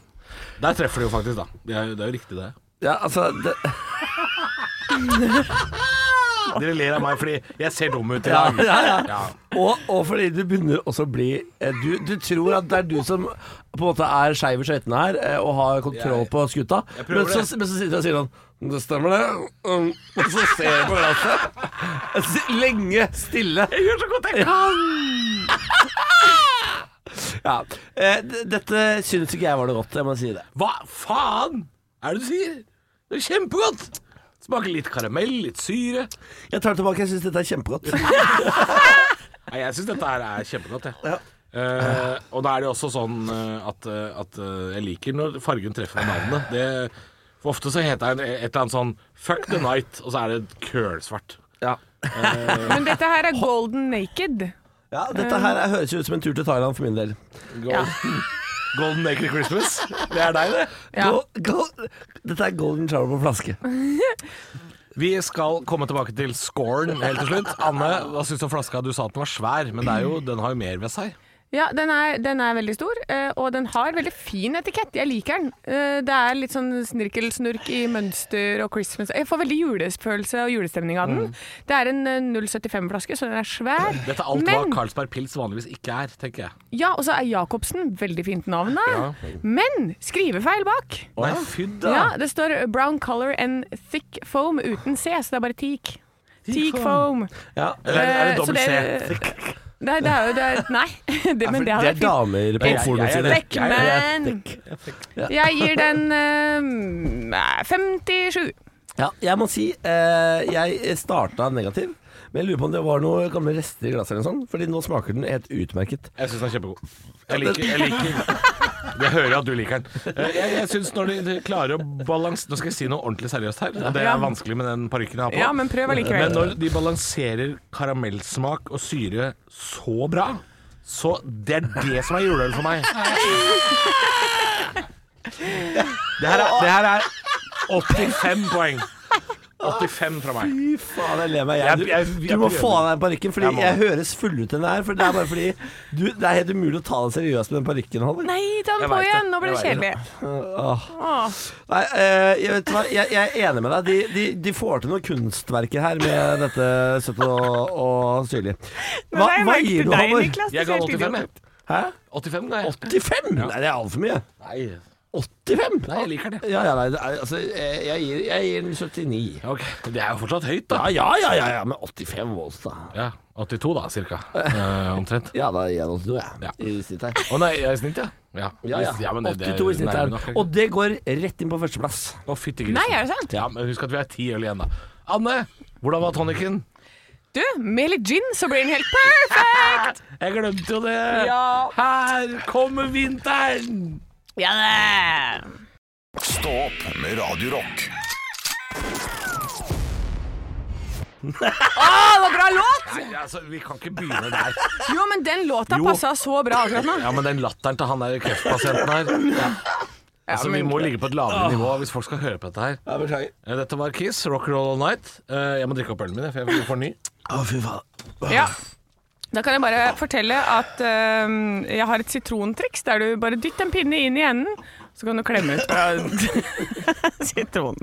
D: Der treffer det jo faktisk, da. Det er, det er jo riktig, det.
E: Ja, altså, det,
D: Dere ler av meg fordi jeg ser dum ut i
E: *laughs* ja,
D: dag.
E: *laughs* ja, ja.
D: Ja.
E: Og, og fordi du begynner også å bli eh, du, du tror at det er du som på en måte er skeiv i skøytene her eh, og har kontroll
D: Jeg-
E: på skuta,
D: jeg prøver
E: men så,
D: det.
E: men så sitter du og sier sånn Det stemmer, det. Um, og så ser du på glasset. *laughs* S- Lenge stille. Jeg gjør så godt jeg kan. *laughs* Ja. Eh, d- dette syns ikke jeg var noe godt, jeg må si det.
D: Hva faen er det du sier? Det er kjempegodt! Smaker litt karamell, litt syre.
E: Jeg tar det tilbake, jeg syns dette er *laughs* kjempegodt.
D: Nei, jeg syns dette her er kjempegodt, jeg. Eh, og da er det jo også sånn eh, at, eh, at eh, jeg liker når fargen treffer navnet. Det, for ofte så heter den et eller annet sånn Fuck the night, og så er det kølsvart.
E: Ja.
C: Men dette her er golden naked.
E: ja, dette her er, høres jo ut som en tur til Thailand for min del.
D: Golden, *laughs* Golden Naked Christmas. Det er deg, det.
C: Ja.
E: Go, go, dette er Golden Shower på flaske.
D: Vi skal komme tilbake til scoren helt til slutt. Anne, hva syns du om flaska? Du sa at den var svær, men det er jo, den har jo mer ved seg.
C: Ja, den er, den er veldig stor, eh, og den har veldig fin etikett. Jeg liker den. Eh, Det er litt sånn snirkelsnurk i mønster og Christmas. Jeg får veldig julefølelse og julestemning av den. Det er en eh, 0,75-flaske, så den er svær.
D: Dette er alt hva
C: Men,
D: Carlsberg Pils vanligvis ikke er, tenker jeg.
C: ja, og så er Jacobsen veldig fint navn, da. Men skrivefeil bak.
D: Nei, fydd da.
C: Ja, det står 'brown color and thick foam' uten C, så det er bare teak. Teak foam.
E: Ja,
D: Eller er det
C: Eh, så
D: dobbelt C?
C: Nei, det er jo det er, Nei, *laughs* det, men det
E: det
C: hadde
E: er
C: vært fint.
E: damer på
D: Jeg- jeg-
E: pornoen
D: jeg er
E: sine.
D: dekk,
E: Jeg- jeg er
C: men-
E: dekk.
C: Jeg gir den eh, 57.
E: Ja, jeg må si eh, jeg starta negativ, men jeg lurer på om det var noen gamle rester i glasset eller noe sånt, fordi nå smaker den helt utmerket.
D: Jeg syns den er kjempegod. Jeg liker, jeg liker Jeg hører at du liker den. Eh, Jeg, jeg synes når de de klarer å balanse Nå skal jeg si noe ordentlig seriøst her. og Det
C: Ja.
D: er vanskelig med den parykken jeg har på.
C: Ja, men prøv allikevel.
D: Men når de balanserer karamellsmak og syre så bra, så det er det som er juleøl for meg. Det her er, det her er 85 poeng. 85 fra meg.
E: Fy faen, jeg ler meg i
D: Jeg-
E: hjel. Du,
D: jeg- jeg-
E: du må
D: jeg-
E: få av deg parykken, fordi
D: Jeg må.
E: jeg høres full ut enn det er. For det er bare fordi du, Det er helt umulig å ta det seriøst med den parykken, Halvor.
C: Nei, ta
D: Jeg
C: den på
D: vet det.
C: igjen! Nå ble det
D: Jeg vet
C: kjedelig. Åh.
E: Nei, eh, jeg, vet hva, jeg, jeg er enig med deg. De, de, de får til noen kunstverker her med dette søtt og, og syrlig.
C: Men
E: Hva,
C: da er
E: hva
C: jeg merket
E: gir du,
C: deg,
E: Halvor?
C: Niklas, det
D: Jeg ga
C: ser helt
D: 85,
C: idiot ut.
D: jeg.
E: Hæ?
D: 85 ga jeg.
E: 85? Nei, det er altfor mye.
D: Nei.
E: 85?
D: Nei, jeg liker det.
E: Ja, ja, nei, det er, altså, jeg, jeg, gir, jeg gir den 79.
D: Ok, Det er jo fortsatt høyt, da.
E: Ja, ja, ja, ja, ja men 85 volts, da.
D: Ja, 82 da, cirka. *laughs* Eh, omtrent.
E: Ja, da gir jeg den 82, jeg.
D: Ja.
E: I snitt her.
D: Å nei, jeg er i snitt, ja. Ja,
E: Ja, ja.
D: men det- det er
E: 82 i snitt
D: nærme
E: her.
D: nok.
E: Og det går rett inn på førsteplass.
D: Å, fytti grisen.
C: Nei, er det sant?
D: Ja, men husk at vi er ti øl igjen, da. Anne, hvordan var tonicen?
C: Du, med litt gin så blir den helt perfekt!
D: Jeg glemte jo det.
C: Ja.
D: Her kommer vinteren!
C: Ja, det.
B: Stå opp med Radio Rock.
C: Å, det var bra låt!
D: Nei, altså, vi kan ikke begynne der.
C: Jo, men den låta
D: Jo.
C: passa så bra akkurat nå.
D: Ja, men den latteren til han der kreftpasienten her Altså, Vi må ligge på et lavere nivå hvis folk skal høre på dette her.
E: Ja, beklager.
D: Eh, Dette var Kiss, Rock Roll All Night. Eh, Jeg må drikke opp ølen min, jeg, for jeg får ny.
E: Å, fy faen.
C: Ja. Da kan jeg bare fortelle at øhm, jeg har et sitrontriks der du bare dytter en pinne inn i enden, så kan du klemme ut fra sitronen.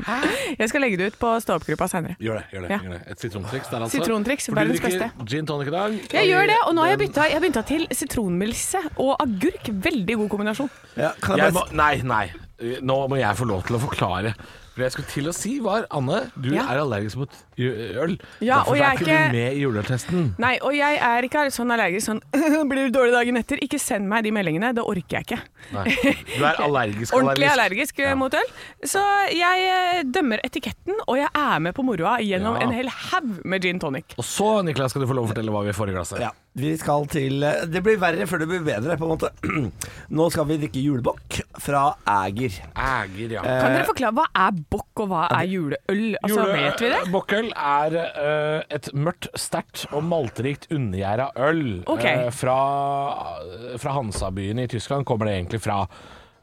C: Jeg skal legge det ut på stå-opp-gruppa senere.
D: Gjør det. gjør det,
C: Ja.
D: gjør det. Et sitrontriks der, altså.
C: Sitrontriks,
D: For du
C: verdens
D: drikker
C: beste.
D: Gin tonic i dag.
C: Jeg gjør det, og nå har jeg
D: Den-
C: bytta, jeg har bytta til sitronmelse og agurk. Veldig god kombinasjon.
E: Ja, kan jeg
D: Jeg
E: bare
D: må, nei, nei. Nå må jeg få lov til å forklare. For det jeg skulle til å si var, Anne, du
C: Ja.
D: er allergisk mot ju- øl.
C: Ja,
D: Derfor
C: og
D: er
C: jeg er
D: ikke
C: ikke-
D: du med i juleøltesten.
C: Nei, og jeg er ikke sånn allergisk sånn *laughs* Blir du dårlig dagen etter? Ikke send meg de meldingene. Det orker jeg ikke.
D: Nei. Du
C: *laughs*
D: er allergisk
C: Ordentlig allergisk eh,
D: Ja.
C: mot øl. Så jeg eh, dømmer etiketten, og jeg er med på moroa gjennom
D: Ja.
C: en hel haug med gin tonic.
D: Og så, Niklas, skal du få lov å fortelle hva vi får i glasset.
E: ja, vi skal til eh, Det blir verre før det blir bedre, på en måte. *clears throat* Nå skal vi drikke julebukk fra Æger.
D: Æger, ja.
C: Kan dere forklare hva er bokk og hva er juleøl? Altså,
D: Eh, Jule-
C: Vet vi det?
D: Bokkøl er eh, et mørkt, sterkt og malterikt undergjæra øl.
C: Ok.
D: Eh, fra eh, fra Hansabyen i Tyskland kommer det egentlig fra.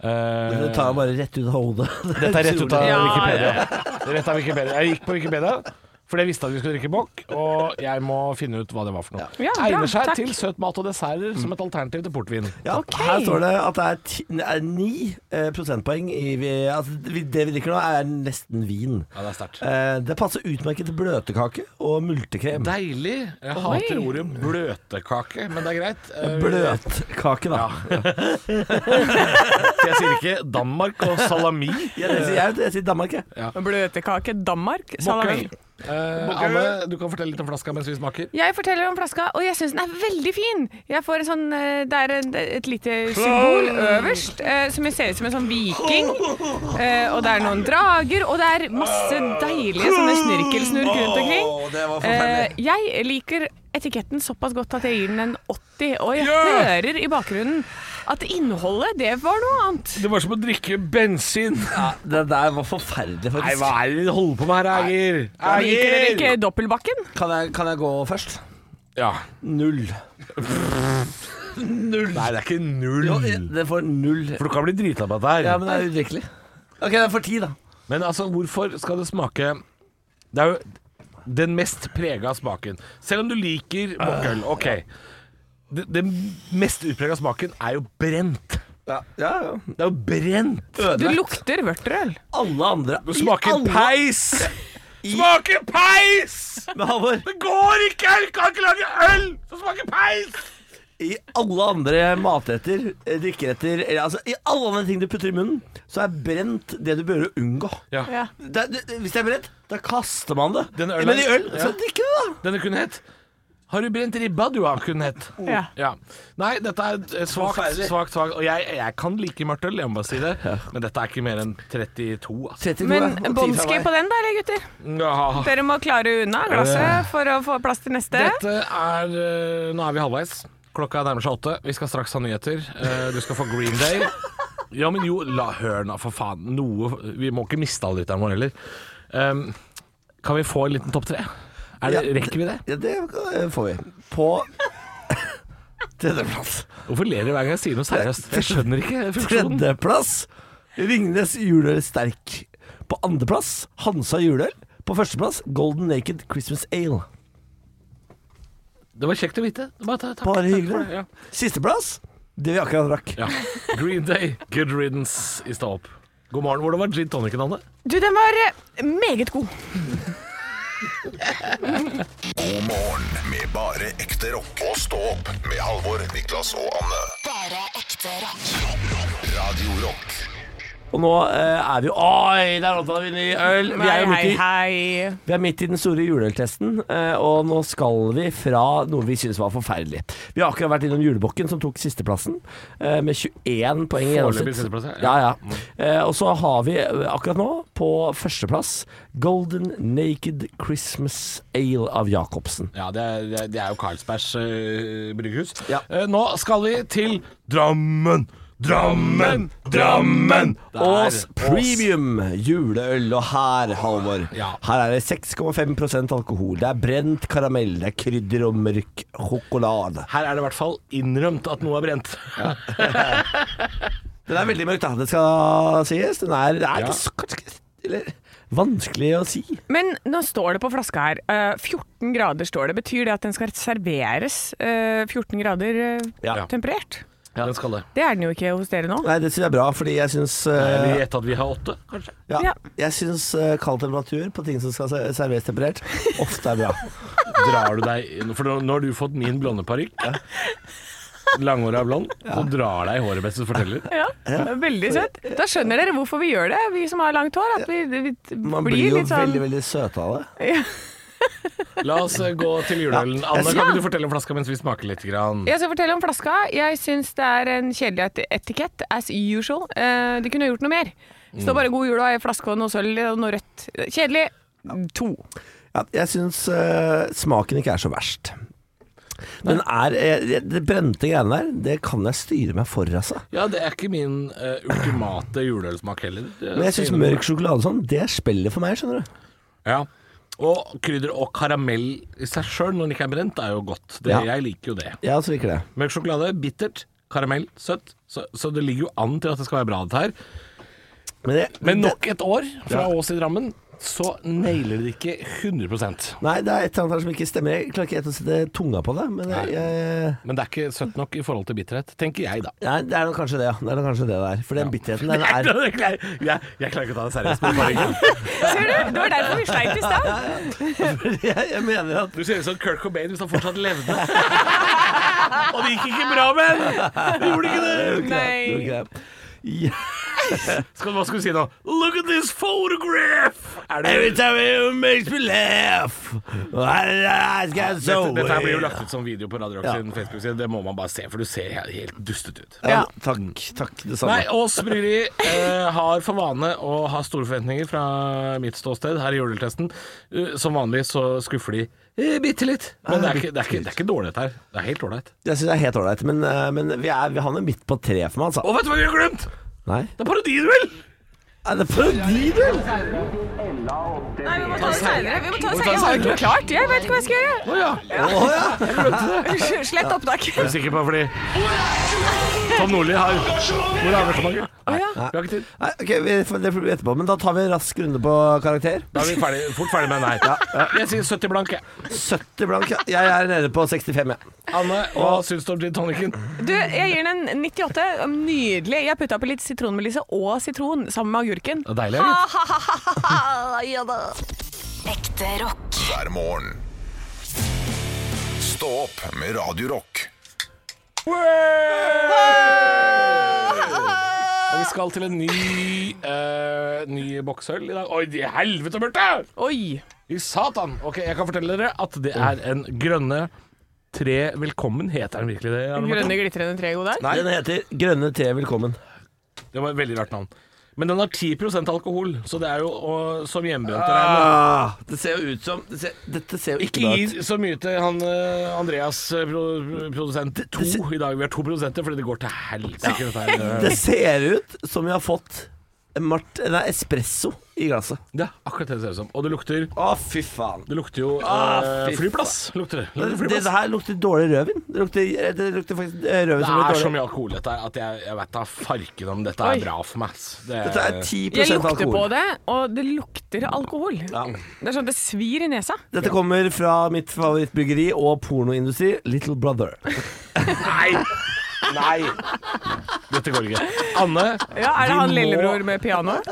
D: Eh,
E: Det tar jeg bare rett ut av
D: *laughs*
E: hodet.
D: Dette er rett ut av
C: Ja,
D: Wikipedia. Det er Rett av Wikipedia. Jeg gikk på Wikipedia, for jeg visste at vi skulle drikke bokk, og jeg må finne ut hva det var for noe.
C: Ja, bra,
D: Egner seg
C: takk.
D: til søt mat og desserter som et alternativ til portvin.
E: Ja,
C: Ok.
E: Her står det at det er, ti, det er ni eh, prosentpoeng i vi, altså, vi, Det vi drikker nå, er nesten vin.
D: Ja, det er sterkt.
E: Eh, det passer utmerket til bløtkake og multekrem.
D: Eh, Deilig. Jeg hater ordet bløtkake, men det er greit. Eh,
E: Bløtkake, da.
D: Jeg sier ikke Danmark og salami.
E: Ja, det sier jeg, jeg sier Danmark, jeg.
C: Bløtkake Danmark. Salami.
D: Bokkøl. Eh, Anne, du kan fortelle litt om flaska mens vi smaker.
C: Jeg forteller om flaska, og jeg syns den er veldig fin. Jeg får en sånn, eh, Det er en, et lite symbol øverst, eh, som jeg ser ut som en sånn viking. Eh, Og det er noen drager, og det er masse deilige sånne snirkelsnurk rundt omkring. Eh, Jeg liker etiketten såpass godt at jeg gir den en 80, og jeg hører i bakgrunnen at innholdet, det var noe annet.
D: Det var som å drikke bensin.
E: Det der var forferdelig,
D: Nei,
E: faktisk.
D: hva er det dere holder på med her, Eger?
C: Liker dere ikke Doppelbakken?
E: Kan, jeg, kan jeg gå først?
D: Ja.
E: Null.
D: Nei, det er ikke null.
E: Jo, det får null.
D: For du kan bli drita på dette her.
E: Ja, men det er udrikkelig. Ok, det er for ti, da.
D: Men altså, hvorfor skal det smake Det er jo den mest prega smaken. Selv om du liker mokkøl, OK. Det- Den mest utprega smaken er jo brent.
E: Ja, ja,
D: Det er jo brent.
C: Du lukter vørterøl.
E: Alle andre
D: Du smaker
E: alle-
D: peis! Smaker peis!
E: Men Halvor,
D: Det går ikke! Du kan ikke lage øl som smaker peis!
E: i alle andre matretter, eh, drikkeretter eller, altså, I alle andre ting du putter i munnen, så er brent det du bør unngå.
D: Ja.
E: Det, er- det, hvis det er brent, da kaster man det.
D: Den ølen-
E: Men i øl,
D: ja.
E: så drikker du det, da.
D: Denne kunne hett Har du brent ribba, du har kunne hett.
C: Ja.
D: Ja. Nei, dette er eh, svakt,
E: Forferdelig.
D: svakt, svakt. Og jeg, jeg kan like mørkt øl, jeg må bare si det, men dette er ikke mer enn 32, altså.
E: 32, ja, og ti fra
C: Men båndsky
E: meg.
C: på den, da, eller gutter?
D: Ja.
C: Dere må klare unna glasset for å få plass til neste.
D: Dette er eh, Nå er vi halvveis. Klokka nærmer seg åtte. Vi skal straks ha nyheter. Eh, Du skal få Green Day. Ja, men jo, la hør nå, for faen. Noe Vi må ikke miste alle lytterne våre heller. Ehm, kan vi få en liten topp tre? Er det,
E: Ja.
D: rekker vi det?
E: Ja, det eh, får vi. På *laughs* tredjeplass.
D: Hvorfor ler dere hver gang jeg sier noe seriøst? Jeg skjønner ikke funksjonen.
E: Tredjeplass Ringnes juleøl sterk. På andreplass Hansa juleøl. På førsteplass Golden Naked Christmas Ale.
D: Det var kjekt å vite. Bare ta- takk.
E: Bare
D: Takk
E: hyggelig.
D: for det, ja.
E: Sisteplass det vi akkurat rakk.
D: Ja. Green Day, good riddance i stå opp. God morgen. Hvordan var gin tonicen, Anne?
C: Du, den var eh, meget god.
B: God morgen med bare ekte rock. Og stå opp med Halvor, Niklas og Anne.
A: Bare ekte rock.
B: Radio Rock
E: Og nå eh, er vi Oi, der åpna vi ny øl! Vi er, jo midt i,
C: hei.
E: vi er midt i den store juleøltesten, eh, og nå skal vi fra noe vi syns var forferdelig. Vi har akkurat vært innom julebukken, som tok sisteplassen, eh, med 21 poeng i
D: Foreløpig
E: gjennomsnitt.
D: sisteplass, ja. Mm.
E: Ja, ja. Eh, og så har vi eh, akkurat nå, på førsteplass, Golden Naked Christmas Ale av Jacobsen.
D: Ja, det er, det er- det er jo Carlsbergs uh, brygghus.
E: Ja.
D: Eh, nå skal vi til Drammen! Drammen! Drammen! Der.
E: Ås
D: Ås.
E: Premium juleøl, og her, Halvor
D: Ja.
E: Her er det 6,5 alkohol. Det er brent karamell, det er krydder og mørk sjokolade.
D: Her er det i hvert fall innrømt at noe er brent.
E: Den er veldig mørk, da. Det skal sies. Den er, det er
D: Ja.
E: ikke så kanskje, ikke- eller, vanskelig å si.
C: Men nå står det på flaska her. eh, 14 grader står det. Betyr det at den skal serveres eh, 14 grader eh,
E: Ja.
C: temperert?
D: Den skal det.
C: Det er den jo ikke hos dere nå.
E: Nei, det syns jeg er bra, fordi jeg syns
D: Eller gjett at vi har åtte, kanskje.
C: Ja.
E: ja, jeg syns eh, kald temperatur på ting som skal ser- serveres temperert, ofte er bra.
D: Drar du deg For nå- nå har du fått min blonde parykk. Langhåra blond. Så drar deg i håret, beste forteller.
C: Ja, Veldig søtt. Da skjønner dere hvorfor vi gjør det, vi som har langt hår. At vi, vi
E: Man
C: blir,
E: blir, jo
C: litt sånn
E: veldig, veldig søt av det.
D: La oss eh, gå til juleølen.
E: Ja.
D: Anne,
E: Jeg-
D: kan ikke du fortelle om flaska mens vi smaker litt? Grann?
C: Jeg skal fortelle om flaska. Jeg syns det er en kjedelig et- etikett, as usual. Eh, de kunne gjort noe mer. Står bare 'god jul' og ei flaske og noe sølv og noe rødt. Kjedelig. To.
E: Ja, jeg syns eh, smaken ikke er så verst. Den er eh, Det brente greiene der, det kan jeg styre meg for, altså.
D: Ja, det er ikke min eh, ultimate juleølsmak heller. Det
E: Men jeg
D: skal
E: syns
D: innrømme.
E: mørk sjokolade og sånn, det er spillet for meg, skjønner du.
D: Ja. Og krydder og karamell i seg sjøl når den ikke er brent, er jo godt. Det,
E: Ja.
D: Jeg liker jo det.
E: Jeg også liker det.
D: Mørk sjokolade, bittert, karamell, søtt. Så, så det ligger jo an til at det skal være bra, dette her.
E: Men, det,
D: Men
E: det-
D: nok et år fra
E: Ja.
D: Ås i Drammen, så nailer de det ikke 100
E: Nei, det er et eller annet her som ikke stemmer. Jeg klarer ikke helt å sette tunga på det, men jeg, jeg
D: Men det er ikke søtt nok i forhold til bitterhet, tenker jeg da.
E: Nei, det er nok kanskje det, ja. Det er nok kanskje det der. For den bitterheten,
D: *laughs*
E: den
D: Jeg,
E: er
D: klarer- jeg, jeg klarer ikke å ta det seriøst. men bare ikke.
C: Ser du? Det var derfor vi sleit i stad.
E: *laughs* jeg, jeg mener at
D: Du ser ut som Kurt Cobain hvis han fortsatt levde. *laughs* Og det gikk ikke bra med ham! Det gjorde ikke det.
C: Nei.
E: Ok. Ja.
D: Skal, hva skal du si nå? Look at this photograph! Er det,
E: Every
D: dette,
E: time you make me laugh I get so
D: dette her blir jo lagt ut som video på Radio Rock
E: Ja.
D: sin Facebook-side. Det må man bare se, for du ser helt, helt dustet ut.
E: ja, Takk, takk det samme
D: Nei, Ås Bryggeri eh, har for vane å ha store forventninger fra mitt ståsted her i juletesten. Eh, som vanlig så skuffer de eh, bitte litt. Men det er, ikke, det, er ikke, det er ikke dårlig dette her. Det er helt ålreit.
E: Jeg synes det er helt ordentlig Men, eh, men vi, er, vi handler midt på tre for meg altså
D: Og vet du hva vi har glemt?
E: Nei
D: Det er parodiduell!
E: Er det parodi vel?
C: Nei, vi må ta det seinere. Vi
D: Vi må ta det
C: må ta det senere. Jeg har ikke
D: senere.
C: noe klart. Jeg vet ikke hva jeg skal gjøre.
D: Å ja.
C: Unnskyld, Slett opptaket.
D: Er du sikker på fordi Tom Nordli har Hvor er engasjementet? Nei,
C: ja.
D: vi har ikke tid.
E: Nei, ok, vi, for det får vi etterpå Men da tar vi en rask runde på karakter
D: Da er vi ferdig, fort ferdig med nei. Jeg sier 70 blank, jeg.
E: 70 blank, ja. jeg er nede på 65 ja.
D: Anne, hva syns du om gin tonicen?
C: Du, jeg gir den en 98. Nydelig. Jeg putta oppi litt sitronmelisse og sitron sammen med agurken.
D: Det er deilig, gitt.
C: *laughs* Ja da.
A: Ekte rock.
B: hver morgen. Stå opp med Radio Rock.
D: Og vi skal til en ny uh, Ny boksøl i dag. Oi, i helvete, Bjarte!
C: Oi.
D: I satan! Ok, jeg kan fortelle dere at det er en grønne tre velkommen. Heter den virkelig det? Arne Martin?
C: Grønne glitrende tre, god dag.
E: Nei, den heter Grønne te velkommen
D: Det var et veldig rart navn. Men den har 10 alkohol, så det er jo og, som hjemmebrent å regne.
E: ah, Det ser jo ut som det ser, Dette ser jo
D: Ikke
E: ikke bra ut
D: gi så mye til han eh, Andreas, eh, pro, produsent to i dag. Vi har to produsenter fordi det går til helsike, dette her.
E: *laughs* Det ser ut som vi har fått Mart, nei, espresso i glasset.
D: Ja, akkurat det det ser ut som. Og det lukter
E: Å, fy faen.
D: Det lukter jo eh,
E: Ah, fy
D: flyplass. Lukter det.
E: Det,
D: Lukter
E: det,
D: flyplass.
E: her lukter dårlig rødvin. Det lukter, det lukter faktisk eh, rødvin
D: Det
E: som
D: er
E: blir
D: så
E: dårlig.
D: mye alkohol i dette her at jeg, jeg vet da farken om dette
C: Oi.
D: er bra for meg. ass. Det er-
E: Dette er 10
C: Jeg lukter
E: alkohol.
C: på det, og det lukter alkohol. Det er sånn at det svir i nesa.
E: Dette kommer fra mitt favorittbryggeri og pornoindustri, Little Brother.
D: Nei! Nei! Dette går ikke. Anne,
C: Ja, Er det
D: vi
C: han
D: må-
C: lillebror med
D: *laughs*
C: piano? *laughs*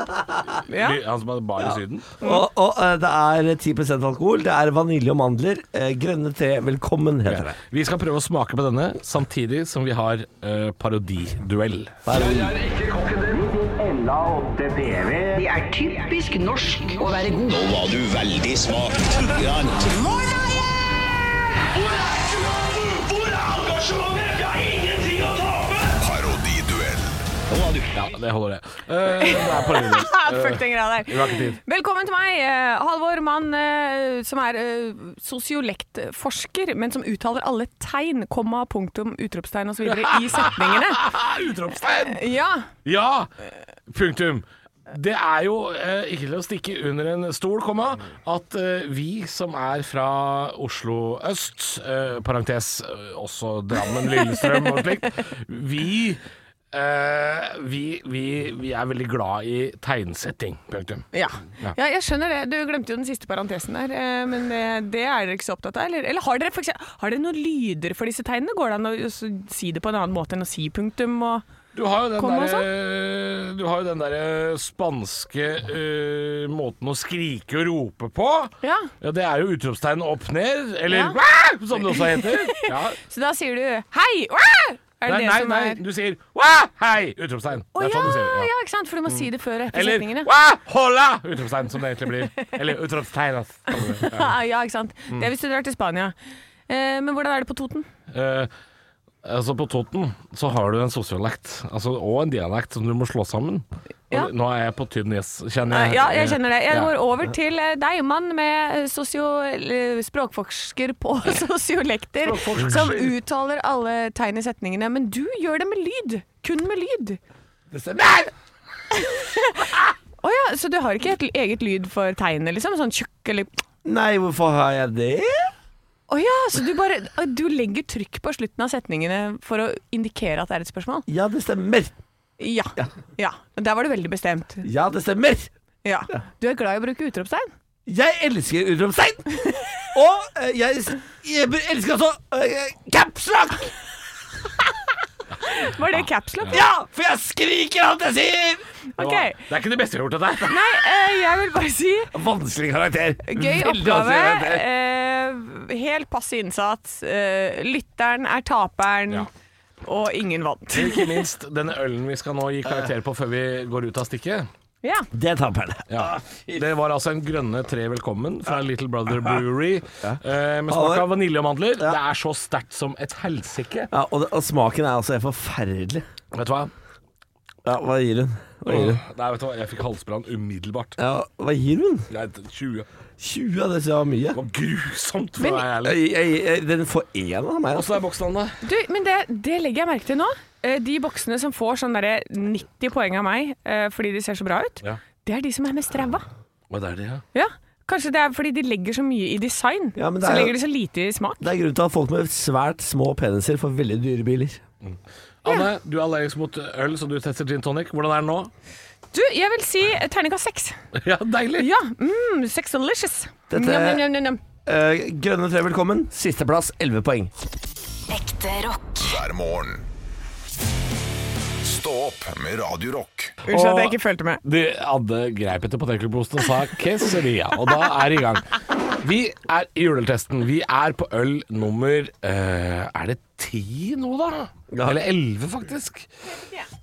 C: Ja.
D: Vi- Han som hadde bar i Syden?
E: Og, og eh, det er 10 alkohol. Det er vanilje og mandler. Eh, grønne te, velkommen, heter det.
D: Vi skal prøve å smake på denne samtidig som vi har eh, parodiduell.
H: Det er typisk norsk å være god.
I: var du veldig smak.
B: Parodiduell
D: Ja, det holder, det. Eh, det er parodiduell.
C: Fuck den greia
D: Vi har
C: der.
D: ikke tid.
C: Velkommen til meg, eh, Halvor Mann, eh, som er eh, sosiolektforsker, men som uttaler alle tegn, komma, punktum, utropstegn osv.
D: *laughs*
C: i setningene.
D: Utropstegn!
C: Ja,
D: Ja! Punktum. Det er jo eh, ikke til å stikke under en stol, komma, at eh, vi som er fra Oslo øst, eh, parentes eh, også Drammen, Lillestrøm og slikt, vi eh, vi, vi, vi er veldig glad i tegnsetting. Punktum.
C: Ja.
D: Ja.
C: ja, jeg skjønner det. Du glemte jo den siste parentesen der. eh, Men det, det er dere ikke så opptatt av? Eller, eller har, dere for eksempel, har dere noen lyder for disse tegnene? Går det an å s- si det på en annen måte enn å si punktum? Og
D: Du har jo den
C: Komma og sånn?
D: derre Du har jo den derre spanske eh, måten å skrike og rope på.
C: Ja.
D: Det er jo utropstegn opp ned, eller
C: Ja.
D: «Wah!», som det også
C: *laughs*
D: heter. Ja.
C: så da sier du 'hei'! Wah! Er det
D: Nei,
C: det
D: nei,
C: som
D: nei,
C: er
D: du sier «Wah! hei! Utropstegn.
C: Å
D: det er
C: ja,
D: sånn du sier det. Mm.
C: ja, ikke sant? For du må si det før og etter
D: Eller
C: setningene.
D: «Wah! hola! Utropstegn, som det egentlig blir. Eller utropstegn.
C: *laughs*
D: ass.
C: Ja, ja, ikke sant.
D: Mm.
C: Det er hvis du drar til Spania. Eh, Men hvordan er det på Toten?
D: Eh, altså På Toten så har du en sosiolekt altså, og en dialekt som du må slå sammen. Og
C: Ja.
D: Nå er jeg på tynn is, kjenner
C: Eh,
D: jeg.
C: Ja, jeg kjenner det. Jeg
D: Ja.
C: går over til eh, deg, mann med eh, sosio... eller språkforsker på *laughs* sosiolekter,
D: Språkforsker.
C: som uttaler alle tegn i setningene. Men du gjør det med lyd. Kun med lyd.
D: Det stemmer!
C: Å ja, så du har ikke et l- eget lyd for tegnene, liksom? Sånn tjukk eller
E: Nei, hvorfor har jeg det?
C: Å ja, så du bare å, Du legger trykk på slutten av setningene for å indikere at det er et spørsmål?
E: Ja, det stemmer.
C: Ja. ja. Der var du veldig bestemt.
E: Ja, det stemmer.
C: Ja. Du er glad i å bruke utropstegn?
E: Jeg elsker utropstegn. Og eh, jeg, jeg elsker også uh, capslock!
C: Var det capslock?
E: Ja, for jeg skriker alt jeg sier!
D: Det,
C: Ok.
D: var, det er ikke det beste jeg har gjort, dette her.
C: Nei, eh, jeg vil bare si
E: Vanskelig karakter.
C: gøy
E: Veldig
C: oppgave.
E: vanskelig karakter.
C: Eh, helt passe innsats. Eh, lytteren er taperen,
D: Ja.
C: og ingen vant.
D: Ikke minst denne ølen vi skal nå gi karakter på før vi går ut av stikket.
C: *laughs* Ja.
E: Det taper det.
D: Ja. Det var altså en grønne tre velkommen fra Little Brother Brewery eh, med
E: Halvor.
D: smak av vanilje og mandler. Det er så sterkt som et helsike.
E: Ja, og, det, og smaken er altså helt forferdelig.
D: Vet du hva?
E: Ja, hva gir hun? Hva
D: Åh,
E: gir hun?
D: Nei, vet du hva? Jeg fikk halsbrann umiddelbart.
E: Ja, hva gir hun?
D: Nei, 20. Det
E: 20 av det synes jeg var mye.
D: var grusomt for
C: Men-
D: meg. ærlig.
E: Jeg, jeg, jeg, den får én av meg. Altså.
D: Åssen er boksen, da?
C: Du, men det, det legger jeg merke til nå. Eh, de boksene som får sånn derre 90 poeng av meg eh, fordi de ser så bra ut,
D: Ja.
C: det er de som er mest ræva.
D: Hva er det, ja?
C: Ja. Kanskje det er fordi de legger så mye i design,
E: Ja, men det
C: så
E: er jo-
C: legger de så lite i smak.
E: Det er grunnen til at folk med svært små peniser får veldig dyre biler.
D: Anne, du er allergisk mot øl, så du tester gin tonic. Hvordan er den nå?
C: Du, jeg vil si eh, terningkast seks.
D: Ja, deilig!
C: Ja. Mm, sexalicious.
E: Dette-
C: Njam, njam, njam, njam, njam.
E: Eh, grønne tre, velkommen. Sisteplass, 11 poeng.
A: Ekte rock.
B: hver morgen. Stå opp med Radio Rock.
C: Unnskyld at jeg ikke fulgte med.
D: De hadde greip etter potetgullposten og sa 'queseria', og da er det i gang. Vi er i juletesten. Vi er på øl nummer eh, Er det ti nå, da? Eller elleve, faktisk.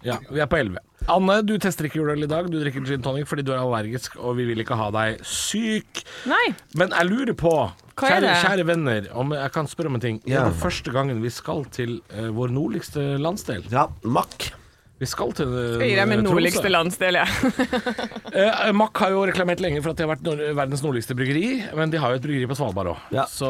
D: Ja, vi er på elleve. Anne, du tester ikke juleøl i dag. Du drikker gin tonic fordi du er allergisk, og vi vil ikke ha deg syk.
C: Nei.
D: Men jeg lurer på,
C: Hva er
D: kjære,
C: det?
D: kjære venner, om jeg kan spørre om en ting. Det
E: Ja.
D: er den første gangen vi skal til eh, vår nordligste landsdel.
E: Ja, makk.
D: Vi skal til uh,
C: Høyre er min nordligste landsdel, jeg.
D: Eh, Mack har jo reklamert lenge for at de har vært nor verdens nordligste bryggeri, men de har jo et bryggeri på Svalbard òg.
E: Ja.
D: Så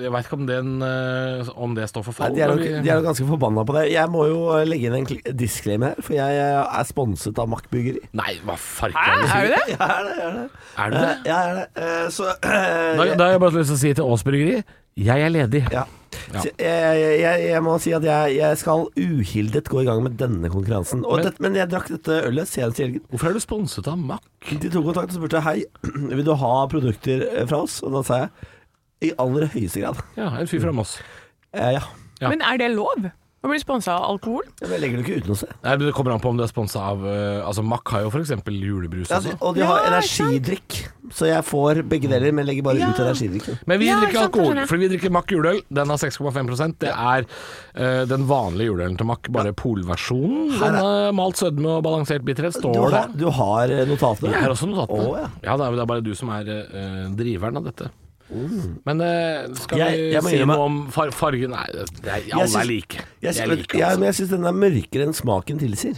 D: jeg veit ikke om, den, eh, om det står for
E: Nei,
D: fall.
E: de, er nok,
D: men vi-
E: de er nok ganske forbanna på det. Jeg må jo eh, legge inn en kl- disclaimer her, for jeg eh, er sponset av Mack Byggeri.
D: Nei, hva farken
C: Hæ,
D: er det du
C: er
D: sier?
C: du det?
E: *laughs* Jeg er
D: Er du
E: det, jeg er det. Eh,
D: det?
E: Jeg er det. Eh, Så *clears throat*
D: Da,
E: eh,
D: da har jeg bare lyst til å si til Ås bryggeri jeg er ledig.
E: Ja. Så Jeg, jeg, jeg, jeg må si at jeg, jeg skal uhildet gå i gang med denne konkurransen. Og
D: Men-
E: men, men jeg drakk dette ølet senest i helgen.
D: Hvorfor er du sponset av Mack?
E: De tok kontakt og spurte hei, *clears throat* vil du ha produkter eh, fra oss? Og da sa jeg i aller høyeste grad
D: Ja, en
E: Mm.
D: fyr fra Moss.
E: eh, ja.
D: Ja.
C: Men er det lov? Å bli sponsa av alkohol?
E: Men jeg legger det ikke uten å se.
D: Nei, men Det kommer an på om du er sponsa av eh, Altså, Mack har jo f.eks. julebrus.
E: Ja,
D: Også.
E: og de har
C: Ja,
E: energidrikk, så jeg får begge deler, men legger bare
C: Ja.
E: ut energidrikken.
D: Men vi
C: Ja,
D: drikker
C: ikke sant,
D: alkohol,
C: skjønner jeg.
D: fordi vi drikker Mack juleøl. Den har 6,5 Det er eh, den vanlige juleølen til Mack, bare polversjonen.
E: Her er-
D: Den er malt sødme og balansert bitterhet.
E: Du
D: Står det?
E: har, du har eh, notatene?
D: Jeg har også notatene.
E: Å, ja.
D: ja. det er- det er bare du som er eh, driveren av dette. Men eh, skal
E: Mm. Jeg- jeg må
D: vi si
E: innrømme-
D: noe om far fargen? Nei, det er, alle
E: syns-
D: er like.
E: Jeg,
D: De er
E: syns-
D: like,
E: ja,
D: altså.
E: men jeg syns den er mørkere enn smaken tilsier.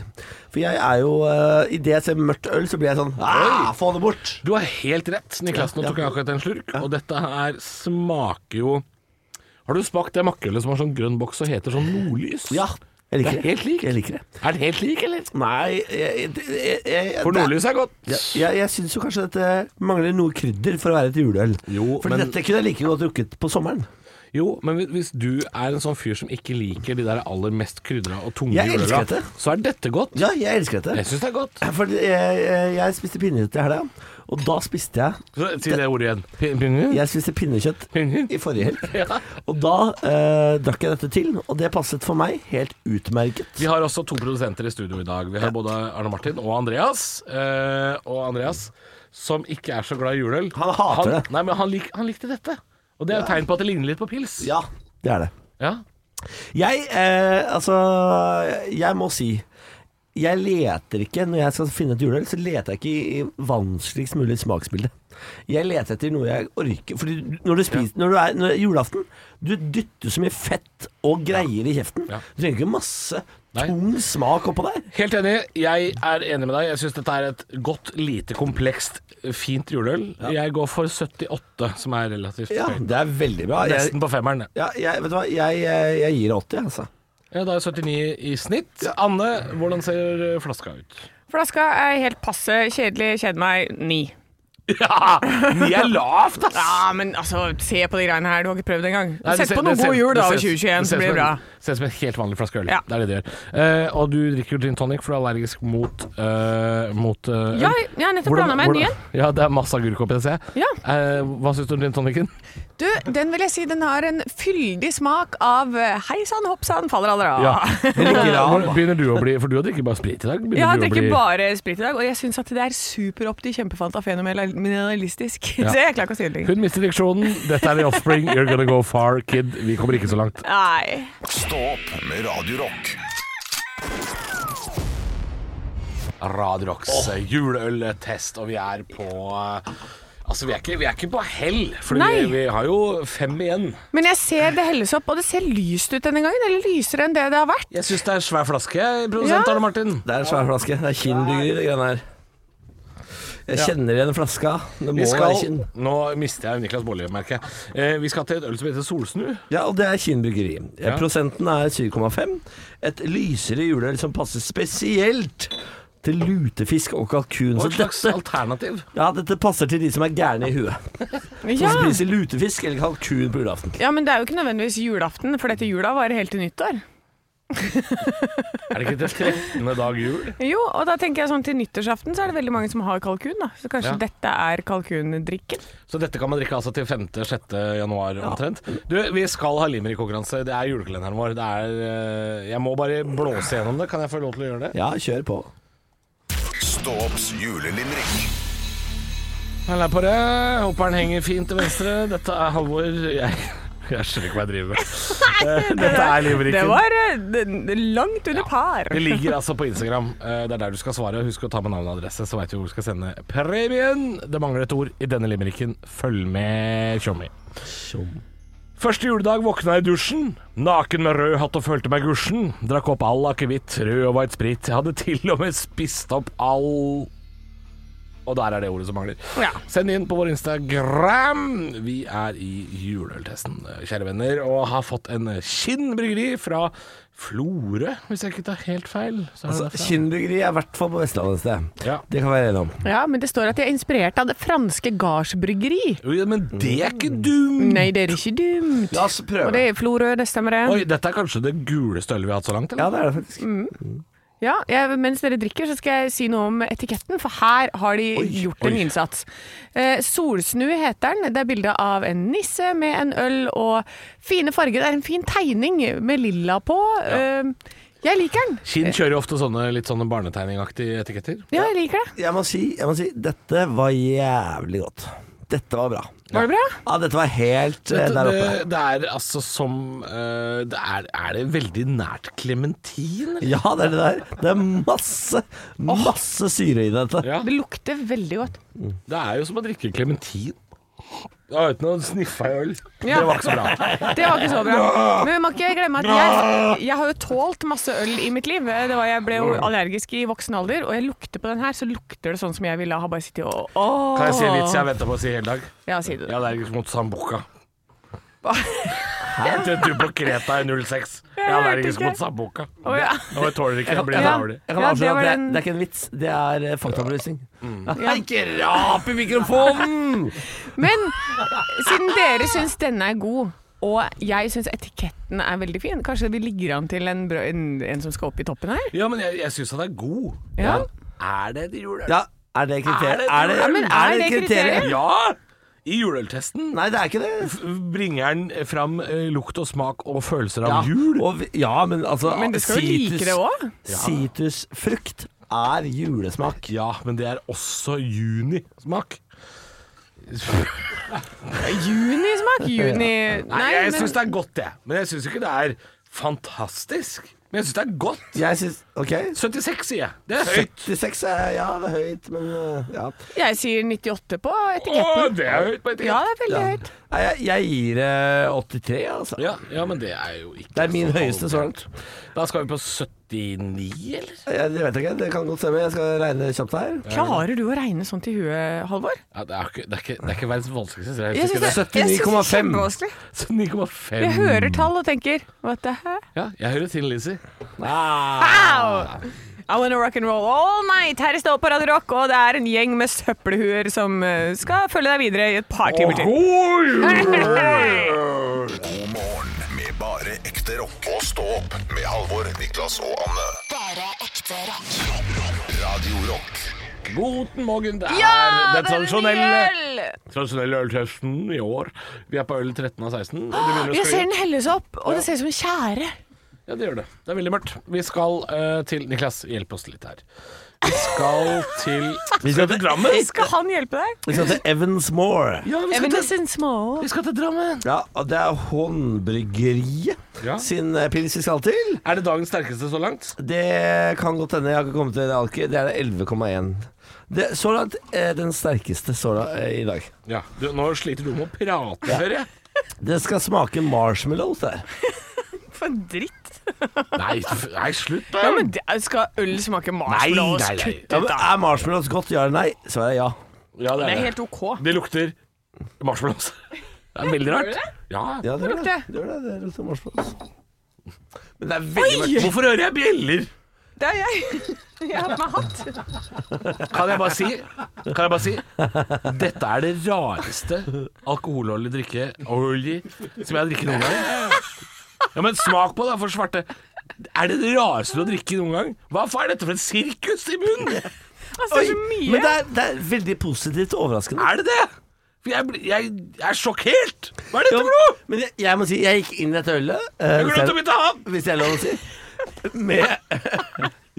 E: For jeg er jo uh, Idet jeg ser mørkt øl, så blir jeg sånn ah, Få det bort!
D: Du har helt rett, Niklas. Nå
E: Ja, ja.
D: tok jeg akkurat en slurk. Og dette her smaker jo Har du smakt det makrellet som har sånn grønn boks og heter sånn nordlys?
E: Ja, jeg liker
D: Det
E: det.
D: er helt lik.
E: Jeg liker det.
D: Er den helt lik, eller?
E: Nei jeg, jeg, jeg, jeg,
D: For nordlys er godt.
E: Jeg, jeg, jeg syns jo kanskje dette mangler noe krydder for å være et juleøl.
D: Jo,
E: For
D: men-
E: dette kunne jeg like godt drukket på sommeren.
D: Jo, men hvis- hvis du er en sånn fyr som ikke liker de der aller mest krydra og tunge
E: Jeg elsker
D: juleøla,
E: dette.
D: så er dette godt.
E: Ja, jeg elsker dette.
D: Jeg syns det er godt.
E: For jeg, jeg, jeg spiste pinnekjøtt i helga, og da spiste jeg
D: Så, si det ordet igjen. Pin- pinne?
E: Jeg spiste pinnekjøtt
D: Pinnekjøtt?
E: i forrige helg. Og da eh, drakk jeg dette til, og det passet for meg helt utmerket.
D: Vi har også to produsenter i studio i dag. Vi har både Arne Martin og Andreas. Eh, og Andreas, som ikke er så glad i juleøl
E: Han hater det.
D: Nei, men han, lik, han likte dette. Og det er jo tegn på at det ligner litt på pils.
E: Ja, det er det.
D: Ja.
E: Jeg, eh, altså, jeg må si jeg leter ikke, Når jeg skal finne et juleøl, så leter jeg ikke i i vanskeligst mulig smaksbilde. Jeg leter etter noe jeg orker Fordi du- når du spiser Når du er når, julaften Du dytter så mye fett og greier i kjeften.
D: Ja.
E: Du trenger ikke masse
D: Nei.
E: tung smak oppå der.
D: Helt enig. Jeg er enig med deg. Jeg syns dette er et godt, lite komplekst, fint juleøl. Jeg går for 78, som er relativt
E: Ja,
D: høyt.
E: det er veldig bra. Jeg,
D: Nesten på femmeren.
E: ja, jeg, vet du hva, jeg, jeg, jeg gir det 80, altså.
D: Ja, da er 79 i snitt. Anne, hvordan ser eh, flaska ut?
C: Flaska er helt passe kjedelig. Kjeder meg ni.
D: *laughs* Ja, ni er lavt, ass!
C: Ja, men altså, se på de greiene her. Du har ikke prøvd engang.
D: Nei, det
C: Sett
D: ser-
C: på noen
D: det ser-
C: god jul, da,
D: det
C: i
D: ser-
C: 2021, så
D: ser
C: blir
D: som
C: det bra.
D: en- Ser ut som en helt vanlig flaske øl.
C: Ja.
D: Det er det det gjør. Eh, og du drikker jo gin tonic, for du er allergisk mot, eh, mot eh, øl.
C: Ja, jeg har nettopp blanda meg en ny en.
D: Ja, det er masse agurk oppi det, ser jeg.
C: Ja.
D: Eh, hva syns du om gin tonicen?
C: Du, den vil jeg si den har en fyldig smak av eh, hei sann, hopp sann, faller aldri av. *laughs*
D: Hvor Begynner du å bli For du har drikket bare sprit i dag. Begynner du å
C: Jeg drikker
D: bli-
C: bare sprit i dag, og jeg syns at det er superopti, kjempefanta, *laughs* fenomenalistisk.
D: Ja.
C: Så jeg klarer ikke å si det lenger.
D: Hun mister diksjonen. Dette er The Offspring. You're gonna go far, kid. Vi kommer ikke så langt.
C: Nei.
B: Stå opp med Radio Rock.
D: Radio Rocks eh, juleøltest, og vi er på Altså, vi er ikke, på hell, for
C: Nei. vi-
D: vi har jo fem igjen.
C: Men jeg ser det helles opp, og det ser lyst ut denne gangen. Eller lysere enn det det har vært.
D: Jeg syns det er svær flaske, eh, produsent
C: Ja.
D: Arne Martin.
E: Det er en svær flaske. Det er kinnbygger, det greiene her. Jeg kjenner igjen flaska. Det
D: Vi
E: må
D: skal,
E: være kinn.
D: nå mister jeg Niklas Baarli, merker jeg. Eh, vi skal til et øl som heter Solsnu.
E: Ja, og det er Kinn bryggeri. Eh, Prosenten er 7,5. Et lysere juleøl som passer spesielt til lutefisk og kalkun.
D: Hva
E: Så
D: slags
E: dette,
D: alternativ?
E: ja, dette passer til de som er gærne i huet.
C: Ja.
E: Som spiser lutefisk eller kalkun på julaften.
C: ja, men det er jo ikke nødvendigvis julaften, for dette jula varer helt til nyttår.
D: Er det ikke til 13. dag jul?
C: Jo, og da tenker jeg sånn til nyttårsaften så er det veldig mange som har kalkun, da. Så kanskje
D: Ja.
C: dette er kalkundrikken.
D: Så dette kan man drikke altså til 5.-6. januar omtrent. Du, vi skal ha limerick-konkurranse. Det er julekalenderen vår. Det er, eh, jeg må bare blåse gjennom det. Kan jeg få lov til å gjøre det?
E: Ja, kjør på.
B: Stå opps julelimerick.
D: Hell er på det. Hopperen henger fint til venstre. Dette er Halvor. Jeg, *laughs* jeg skjønner ikke hva jeg driver med. Eh, *laughs* Dette er
C: Det
D: limericken.
C: var eh, d- d- langt under par.
D: Det ligger altså på Instagram. Eh, Det er der du skal svare. Husk å ta med navn og adresse, så veit du hvor du skal sende premien. Det mangler et ord i denne limericken. Følg med, tjommi. Første juledag våkna jeg i dusjen. Naken med rød hatt og følte meg gusjen. Drakk opp all akevitt, rød og white sprit. Jeg hadde til og med spist opp all Og der er det ordet som mangler.
C: Ja.
D: Send inn på vår Instagram. Vi er i juleøltesten, kjære venner, og har fått en Kinn bryggeri fra Florø, hvis jeg ikke tar helt feil. Så er det
E: Altså,
D: derfra.
E: Kinn bryggeri er i hvert fall på Vestlandet et sted.
D: Ja.
E: Det kan vi være enige om.
C: Ja, men det står at de er inspirert av det franske gardsbryggeri.
D: Jo, ja, men det er ikke dumt!
C: Nei, det er ikke dumt.
E: La oss
C: Og
E: prøve.
C: det er Florø, det stemmer det.
D: Oi, dette er kanskje det guleste ølet vi har hatt så langt,
E: Ja,
D: eller?
E: det er det faktisk.
D: Mm.
C: Ja, jeg, Mens dere drikker, så skal jeg si noe om etiketten, for her har de gjort en
D: oi.
C: innsats. Eh, Solsnu heter den. Det er bilde av en nisse med en øl og fine farger. Det er en fin tegning med lilla på. Eh, jeg liker den.
D: Kinn kjører jo ofte sånne litt sånne barnetegningaktige etiketter.
C: Ja, jeg liker det.
E: Jeg må si, jeg må si dette var jævlig godt. Dette var bra.
C: Var det bra?
E: Ja, dette var helt eh,
D: Dette,
E: der oppe.
D: Det, det er altså som eh, det er, er det veldig nært klementin? eller?
E: Ja, det er det der. Det er masse, masse syre i dette.
D: Ja.
C: Det lukter veldig godt.
D: Det er jo som å drikke klementin. Ja, uten å sniffe ei øl.
C: Ja.
D: Det var ikke så bra.
C: Det var ikke så bra. Men vi må ikke glemme at jeg, jeg har jo tålt masse øl i mitt liv. Det var, jeg ble jo
D: Mm.
C: allergisk i voksen alder, og jeg lukter på den her, så lukter det sånn som jeg ville ha bare sittet og Åh!
D: Kan jeg si en vits jeg har venta på å si hele dag?
C: Ja, si det.
D: Jeg er allergisk mot sambuca.
C: *laughs*
D: Du, du på Kreta i 06. Jeg er
C: hørte
D: allergisk
C: ikke.
D: mot sambuca.
C: Å, ja.
D: Og jeg tåler ikke det. Blir
C: Ja.
D: dårlig.
E: Jeg kan
C: Ja, det
E: avsløre
C: var
E: at det,
C: en-
E: det er ikke en vits, det er eh, faktaopplysning.
D: Mm.
E: Ja. Ikke rap i mikrofonen!
C: Men siden dere syns denne er god, Og jeg syns etiketten er veldig fin. Kanskje vi ligger an til en, brød, en, en som skal opp i toppen her?
D: Ja, men jeg, jeg syns han er god.
C: Ja.
D: Er det et juleøl?
E: Ja, er det kriteriet?
D: Er det-
E: Er det,
D: Ja,
C: men
E: er det
C: er det
E: kriteriet?
C: kriteriet?
D: Ja! I juleøltesten
E: Nei, det er ikke det.
D: bringer han fram eh, lukt og smak og følelser av
E: Ja,
D: jul.
E: og vi- ja men altså
C: Men du skal jo like
E: sitrus-
C: det også.
E: Sitrusfrukt er julesmak.
D: Ja, men det er også junismak.
C: Junismak? Juni...
D: Nei,
C: Nei,
D: jeg
C: men
D: syns det er godt, jeg. Men jeg syns ikke det er fantastisk. Men jeg syns det er godt.
E: Jeg syns OK.
D: 76, sier jeg. Det er høyt.
E: 76 er ja, det er høyt, men uh, ja.
C: jeg sier 98 på
D: Å,
C: etiketten.
D: det er høyt på etikett.
C: Ja, det er veldig
E: Ja.
C: høyt.
E: Nei, jeg, jeg gir det 83, altså.
D: Ja, ja, men det er jo ikke
E: Det er min
D: så
E: høyeste så langt.
D: Da skal vi på 79, eller?
E: Jeg, jeg vet ikke, det kan godt stemme. Jeg skal regne kjapt her.
C: Klarer du å regne sånt i huet, Halvor?
D: Ja, det, er ikke, det, er ikke, det er ikke verdens vanskeligste. så Jeg
C: Jeg
D: husker
C: syns det,
D: ikke det.
C: jeg synes
E: 79,5.
C: det er kjempevanskelig.
D: 79,5.
C: Jeg hører tall og tenker What the heck?
D: Ja, jeg hører til, Lizzie.
C: Wow! I wanna rock and roll all night her i Stå på Radio Rock, og det er en gjeng med søppelhuer som eh, skal følge deg videre i et par timer til.
B: God morgen med bare ekte rock. Og stå opp med Halvor, Niklas og Anne.
A: Bare ekte rock.
B: Rock, rock. Radio Rock.
D: Guten morgen. Det er
C: Ja,
D: den
C: det er
D: tradisjonelle,
C: en ny øl!
D: tradisjonelle øltesten i år. Vi er på øl 13 av 16. og det begynner å
C: Jeg
D: skli-
C: ser den helles opp, og det ser ut som en tjære.
D: Ja, det gjør det. Det er veldig mørkt. Vi skal eh, til Niklas, hjelp oss litt her. Vi skal til
E: Vi skal til Drammen.
C: Skal han hjelpe deg?
E: Vi skal til Evansmore.
D: Ja, vi skal til,
C: Evanescence Small.
D: vi skal til Drammen.
E: Ja, og det er Håndbryggeriet
D: Ja.
E: sin eh, pils vi skal til.
D: Er det dagens sterkeste så langt?
E: Det kan godt hende jeg har ikke kommet til det alki. Det er det 11,1. Det- Så langt eh, den sterkeste så langt, eh, i dag.
D: Ja. Du, nå sliter du med å prate, hører jeg.
E: Det skal smake marshmallows der.
C: For en dritt.
D: *laughs* Nei, f- nei, slutt, da.
C: Ja, men det, skal øl smake marshmallows?
D: Nei, nei, nei.
C: Kutt
E: Ja,
C: ut,
E: men
C: da.
E: er marshmallows godt? Ja eller nei? Svaret er ja.
D: Ja,
C: Det er helt OK.
D: Det lukter marshmallows. Det er veldig rart. Ja.
E: Ja, det gjør det.
C: lukter.
E: Det gjør det. Det lukter marshmallows.
D: Men det er veldig mørkt. Hvorfor hører jeg bjeller?
C: Det er jeg. Jeg har på meg hatt.
D: Kan jeg bare si, kan jeg bare si Dette er det rareste alkoholholdig drikke olje, som jeg har drikket noen gang. Ja, men smak på det, for svarte. Er det det rareste du har drikket noen gang? Hva faen er dette for et sirkus i munnen?
C: Altså, det er så
E: Men det
C: mye.
E: er, det er veldig positivt og overraskende.
D: Er det det? For jeg, blir- jeg, er sjokkert. Hva er dette
E: Jo,
D: for noe?
E: Men jeg, jeg må si, jeg gikk inn i dette ølet eh,
D: Jeg
E: hvis
D: glemte å bytte ham.
E: hvis jeg er lov å si. Med,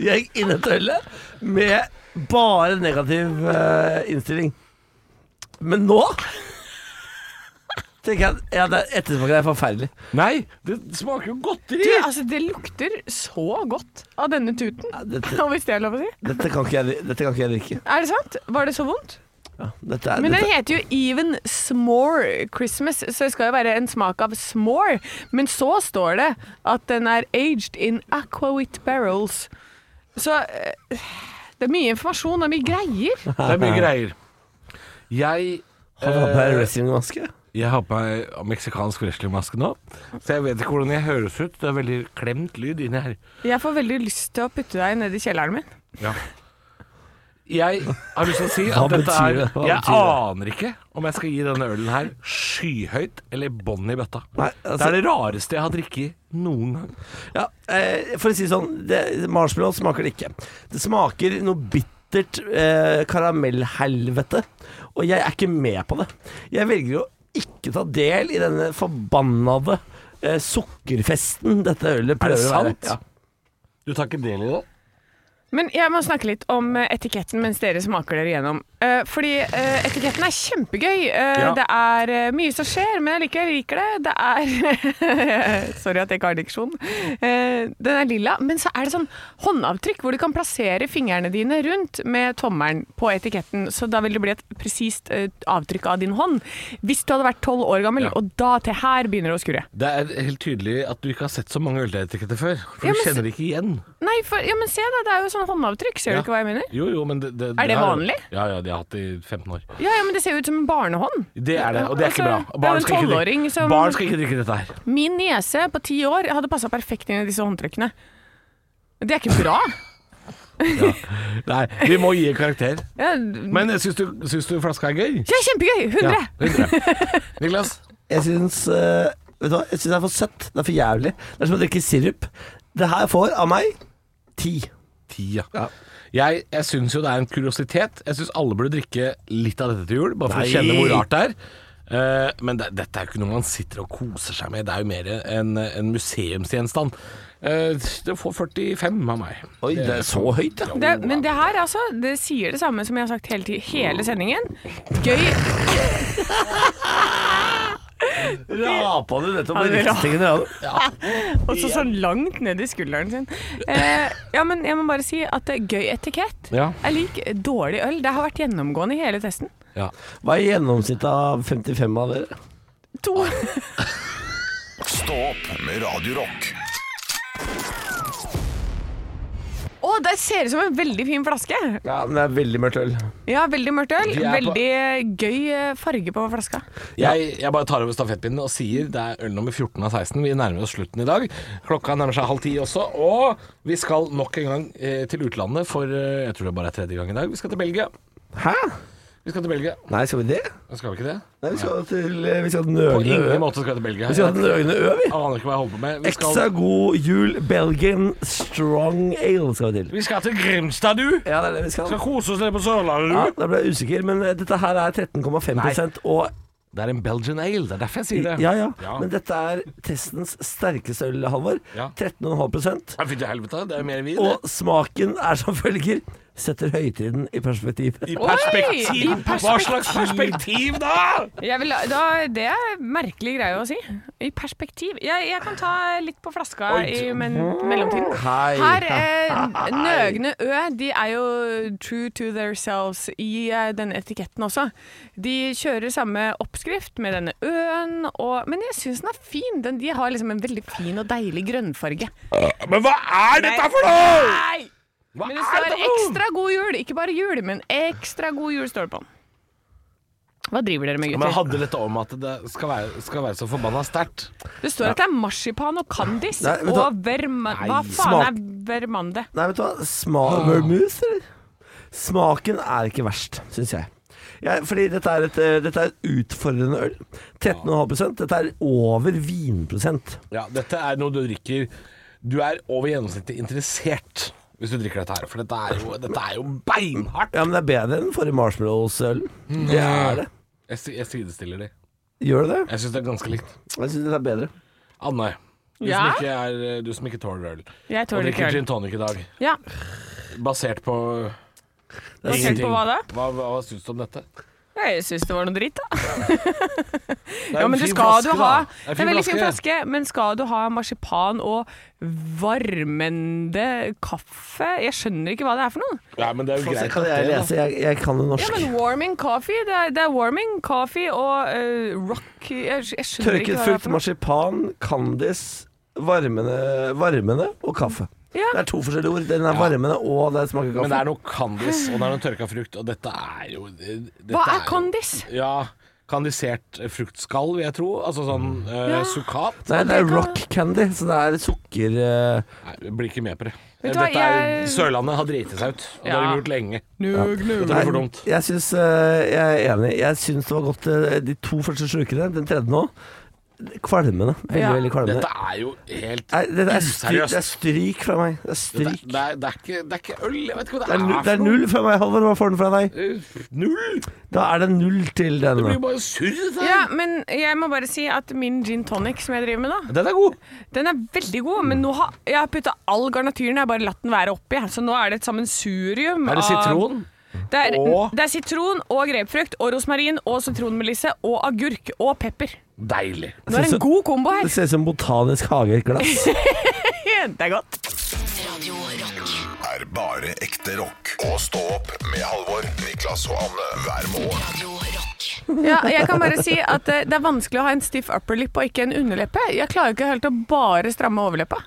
E: jeg gikk inn i dette ølet med bare negativ eh, innstilling. Men nå tenker jeg at ja, det- ettersmaken er forferdelig.
D: Nei, det smaker jo godteri.
C: Du, altså, det lukter så godt av denne tuten.
E: Dette,
C: Og hvis det er lov å si.
E: dette, kan ikke jeg, dette kan ikke jeg drikke.
C: Er det sant? Var det så vondt?
E: Dette er,
C: Men den
E: dette,
C: heter jo Even S'more Christmas, så det skal jo være en smak av s'more. Men så står det at den er aged in aquavit barrels. Så eh, det er mye informasjon, det er mye greier.
D: Det er mye greier. Jeg eh,
E: har du hatt på deg wrestlingmaske?
D: Jeg har på meg meksikansk wrestlingmaske nå, så jeg vet ikke hvordan jeg høres ut. Det er veldig klemt lyd inni her.
C: Jeg får veldig lyst til å putte deg ned i kjelleren min.
D: Jeg har lyst til å si
E: Hva
D: at dette
E: betyr
D: er
E: det? Hva
D: Jeg
E: betyr det?
D: aner ikke om jeg skal gi denne ølen her skyhøyt eller bånn i bøtta.
E: Nei,
D: det
E: altså-
D: er det rareste jeg har drukket noen gang.
E: Ja, eh, for å si det sånn, det, marshmallow smaker det ikke. Det smaker noe bittert eh, karamellhelvete, og jeg er ikke med på det. Jeg velger å ikke ta del i denne forbannede eh, sukkerfesten dette
D: Er
E: ølet
D: det
E: prøver å være.
D: sant? Du tar ikke del i det?
C: Men jeg må snakke litt om eh, etiketten mens dere smaker dere gjennom. Eh, fordi eh, etiketten er kjempegøy. Eh,
D: Ja.
C: Det er eh, mye som skjer, men jeg liker, jeg liker det. Det er *laughs* Sorry at jeg ikke har diksjon. Eh, den er lilla, men så er det sånn håndavtrykk hvor du kan plassere fingrene dine rundt med tommelen på etiketten. Så da vil det bli et presist eh, avtrykk av din hånd. Hvis du hadde vært tolv år gammel,
D: Ja.
C: og da til her begynner det å skurre.
D: Det er helt tydelig at du ikke har sett så mange øletiketter før. For
C: Ja,
D: du
C: men
D: kjenner det ikke igjen.
C: Nei, for, ja, men se da, det er jo sånn håndavtrykk. Ser
D: Ja.
C: du ikke hva jeg mener?
D: Jo, jo, men det,
C: Er det
D: har-
C: vanlig?
D: Ja, ja, de har hatt det i 15 år.
C: Ja, ja, men det ser jo ut som en barnehånd.
D: Det er det, og det er ikke bra.
C: Altså, det er jo
D: Barn
C: en
D: skal ikke
C: tolvåring
D: drikke,
C: som-
D: barn skal ikke drikke dette her.
C: Min niese på ti år hadde passa perfekt inn i disse håndtrykkene. Det er ikke bra.
D: Nei, vi må gi en karakter.
C: Ja,
D: Men eh, syns du, syns du flaska er gøy?
C: det er kjempegøy! 100!
D: Ja, 100. Niklas?
E: Jeg syns eh, Vet du hva? Jeg syns det er for søtt. Det er for jævlig. Det er som å drikke sirup. Det her får av meg ti.
D: Tida. Jeg, jeg syns jo det er en kuriositet. Jeg syns alle burde drikke litt av dette til jul, bare for
E: Nei.
D: å kjenne hvor rart det er. Eh, men det, dette er jo ikke noe man sitter og koser seg med, det er jo mer en, en museumsgjenstand. Eh, det får 45 av meg. Eh,
E: Oi, det er så høyt, ja.
C: Det, men det her altså, det sier det samme som jeg har sagt hele, ti- hele sendingen. Gøy
E: Rapa du nettopp
C: Ja,
E: med
C: det er
E: riktige grader?
C: Og så sånn langt ned i skulderen sin. Eh, ja, men jeg må bare si at det er gøy etikett
D: Ja.
C: er lik dårlig øl. Det har vært gjennomgående i hele testen.
D: Ja.
E: Hva er gjennomsnittet av 55 av dere?
C: To.
B: Stå opp med Radio Rock.
C: Å, det ser ut som en veldig fin flaske!
E: Ja, men det er veldig mørkt øl.
C: Ja, veldig mørkt øl.
D: De er på-
C: Veldig eh, gøy eh, farge på flaska.
D: Jeg, jeg bare tar over stafettpinnen og sier det er øl nummer 14 av 16. Vi nærmer oss slutten i dag. Klokka nærmer seg halv ti også, og vi skal nok en gang eh, til utlandet for eh, Jeg tror det bare er tredje gang i dag. Vi skal til Belgia.
E: Hæ?
D: Vi skal til Belgia.
E: Nei, skal vi det?
D: Skal vi ikke det?
E: Nei, vi skal til eh, Vi skal til
D: På
E: Nøgne
D: ingen
E: Ø.
D: måte skal vi til Belgia.
E: Vi skal til Nøgne Ø, vi.
D: Jeg aner ikke hva jeg holder på med. Vi
E: Ekstra
D: skal,
E: god jul Belgian strong ale skal vi til.
D: vi skal til Grimstad, du!
E: Ja, det er det vi skal.
D: Skal kose oss nede på Sørlandet, du!
E: Ja, da ble jeg usikker, men eh, dette her er 13,5 og
D: Det er en Belgian ale, det er derfor jeg sier det.
E: ja, ja,
D: Ja.
E: men dette er testens sterkeste øl, Halvor.
D: Ja.
E: 13,5
D: Ja, Fy til helvete, det er mer vin. det.
E: Og smaken er som følger. Setter høytiden i perspektiv.
D: I
C: Oi, i
D: perspektiv! Hva slags perspektiv, da?!
C: Jeg vil, da, det er merkelig greie å si. I perspektiv. Jeg, jeg kan ta litt på flaska
D: Oi,
C: i men, mellomtiden.
E: Hei.
C: Her, eh, Nøgne Ø, de er jo true to themselves i eh, denne etiketten også. De kjører samme oppskrift med denne øen, og, men jeg syns den er fin. Den, de har liksom en veldig fin og deilig grønnfarge.
D: Men hva er dette for noe?!
C: Nei!
D: Hva
C: Men det
D: er
C: står
D: dette for noe?!
C: ekstra god jul. Ikke bare jul, men ekstra god jul står det på den. Hva driver dere med,
D: Men
C: gutter?
D: handler dette om at det skal være, skal være så forbanna sterkt?
C: Det står at det er marsipan og candis
E: Nei, vet du hva?
C: og verma... Hva
D: Nei,
E: smak-
C: faen er vermande?
E: Nei, vet du hva. Sma Vermouth, eller? Smaken er ikke verst, syns jeg. Jeg- fordi dette er, et, eh, dette er et utfordrende øl. 13,5 Dette er over vinprosent.
D: Ja, dette er noe du drikker Du er over gjennomsnittet interessert hvis du drikker dette her, for dette er jo, dette er jo beinhardt.
E: Ja, men det er bedre enn forrige Marshmallows-øl. Det er det.
D: Jeg, si- jeg sidestiller de.
E: Gjør det det?
D: Jeg syns det er ganske likt.
E: Jeg syns dette er bedre.
D: Anne, du,
C: Ja?
D: som, ikke er, eh, du som ikke tåler øl.
C: Jeg
D: Og
C: tåler ikke
D: drikker
C: øl.
D: gin tonic i dag.
C: Ja.
D: Basert på
E: Det er
C: Basert
E: ingenting.
C: på hva da?
D: Hva, hva, hva syns du om dette?
C: Jeg syns det var noe dritt, da.
D: Det er
C: Ja,
D: en
C: men du
D: fin
C: skal
D: flaske,
C: du ha
D: da. Det
C: Det
D: er
C: er en veldig fin
D: flaske.
C: flaske, men skal du ha marsipan og varmende kaffe? Jeg skjønner ikke hva det er for noe.
D: Ja, men det er jo
E: Altså,
D: greit.
E: kan
D: at
E: jeg
D: det, da.
E: lese? Jeg, jeg kan det
C: Ja,
E: norsk.
C: men warming coffee. Det er, det er warming coffee og eh, rock jeg, jeg skjønner
E: Tørket
C: ikke hva det er
E: frukt,
C: for noe.
E: marsipan, Candis, varmende, varmende og kaffe.
C: Ja.
E: Det er to forskjellige ord. Den er varmende, og den smaker kaffe.
D: Men det er noe Candis, og det er noe tørka frukt, og dette er jo dette
C: Hva er
D: jo-
C: Condis?
D: Ja, kandisert fruktskall, vil jeg tro. Altså sånn eh,
C: Mm. Ja.
D: sukat.
E: Nei, det er
C: kan-
E: rock candy, så det er sukker... eh,
D: Nei, jeg blir ikke med på det.
C: Vet du hva,
D: Dette er,
C: jeg-
D: Sørlandet har driti seg ut, og det har
C: Ja.
D: de gjort lenge.
C: Nug,
D: Dette
C: nug.
D: blir for dumt.
E: Jeg syns eh, Jeg er enig. Jeg syns det var godt eh, de to første slukene. Den tredje nå. Kvalmende. Veldig,
C: Ja.
E: veldig kvalmende.
D: Dette er jo helt
E: Nei, det, det, er stryk,
D: useriøst.
E: det er stryk fra meg. Det
D: Det
E: er
D: er,
E: stryk.
D: det, er, det, er ikke, det er ikke øl, jeg vet ikke hva
E: Det
D: det
E: er, nu-
D: er.
E: det er null fra meg, Halvor. Hva får den fra deg?
D: null. Null!
E: Da er det null til
D: Det blir
E: denne.
D: jo bare surr, dette
C: Ja,
D: her.
C: men jeg må bare si at min gin tonic som jeg driver med, da
D: Den er god.
C: Den er veldig god, men nå har jeg har putta all garnaturen. Jeg har bare latt den være oppi. her, Så nå er det et sammensurium.
D: Er det
C: av-
D: sitron?
C: Det er,
D: og-
C: det er sitron og grepfrukt og rosmarin og sitronmelisse og agurk og pepper.
D: Deilig.
C: Nå er det
E: Så-
C: en god kombo
E: *laughs* Det
C: her.
E: ser ut som botanisk hage i et
C: *laughs*
E: glass.
C: Det er godt.
A: Radio Rock.
B: Er bare ekte rock. Og stå opp med Halvor, Niklas og Anne hver morgen.
A: Radio Rock.
C: Ja, jeg kan bare si at eh, det er vanskelig å ha en stiff upper lip og ikke en underleppe. Jeg klarer ikke helt å bare stramme overleppa.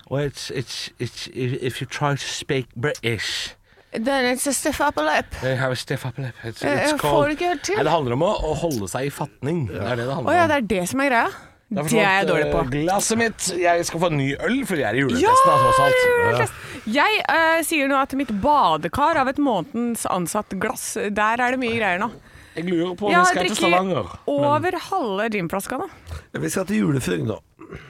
D: if you try to speak British
C: Den er stiff upper lip.
D: They have a stiff upper lip. It's,
C: Jeg-
D: it's
C: jeg
D: called-
C: får det ikke helt til.
D: Nei, det handler om å, å holde seg i fatning. Det er det det handler
C: Å ja,
D: om.
C: det er det som er greia.
D: Jeg
C: Det
D: forsvant,
C: er jeg dårlig på.
D: eh, Glasset mitt. Jeg skal få en ny øl, for jeg er i
C: Ja,
D: juletesten. da, tross alt.
C: juleklass. Jeg eh, sier nå at mitt badekar av et månedens ansatt glass, der er det mye greier nå.
D: Jeg lurer på om
C: Jeg
D: jeg skal til
C: drikker
D: Stavanger.
C: over halve ginflaska nå.
E: Vi skal til julefrøken nå.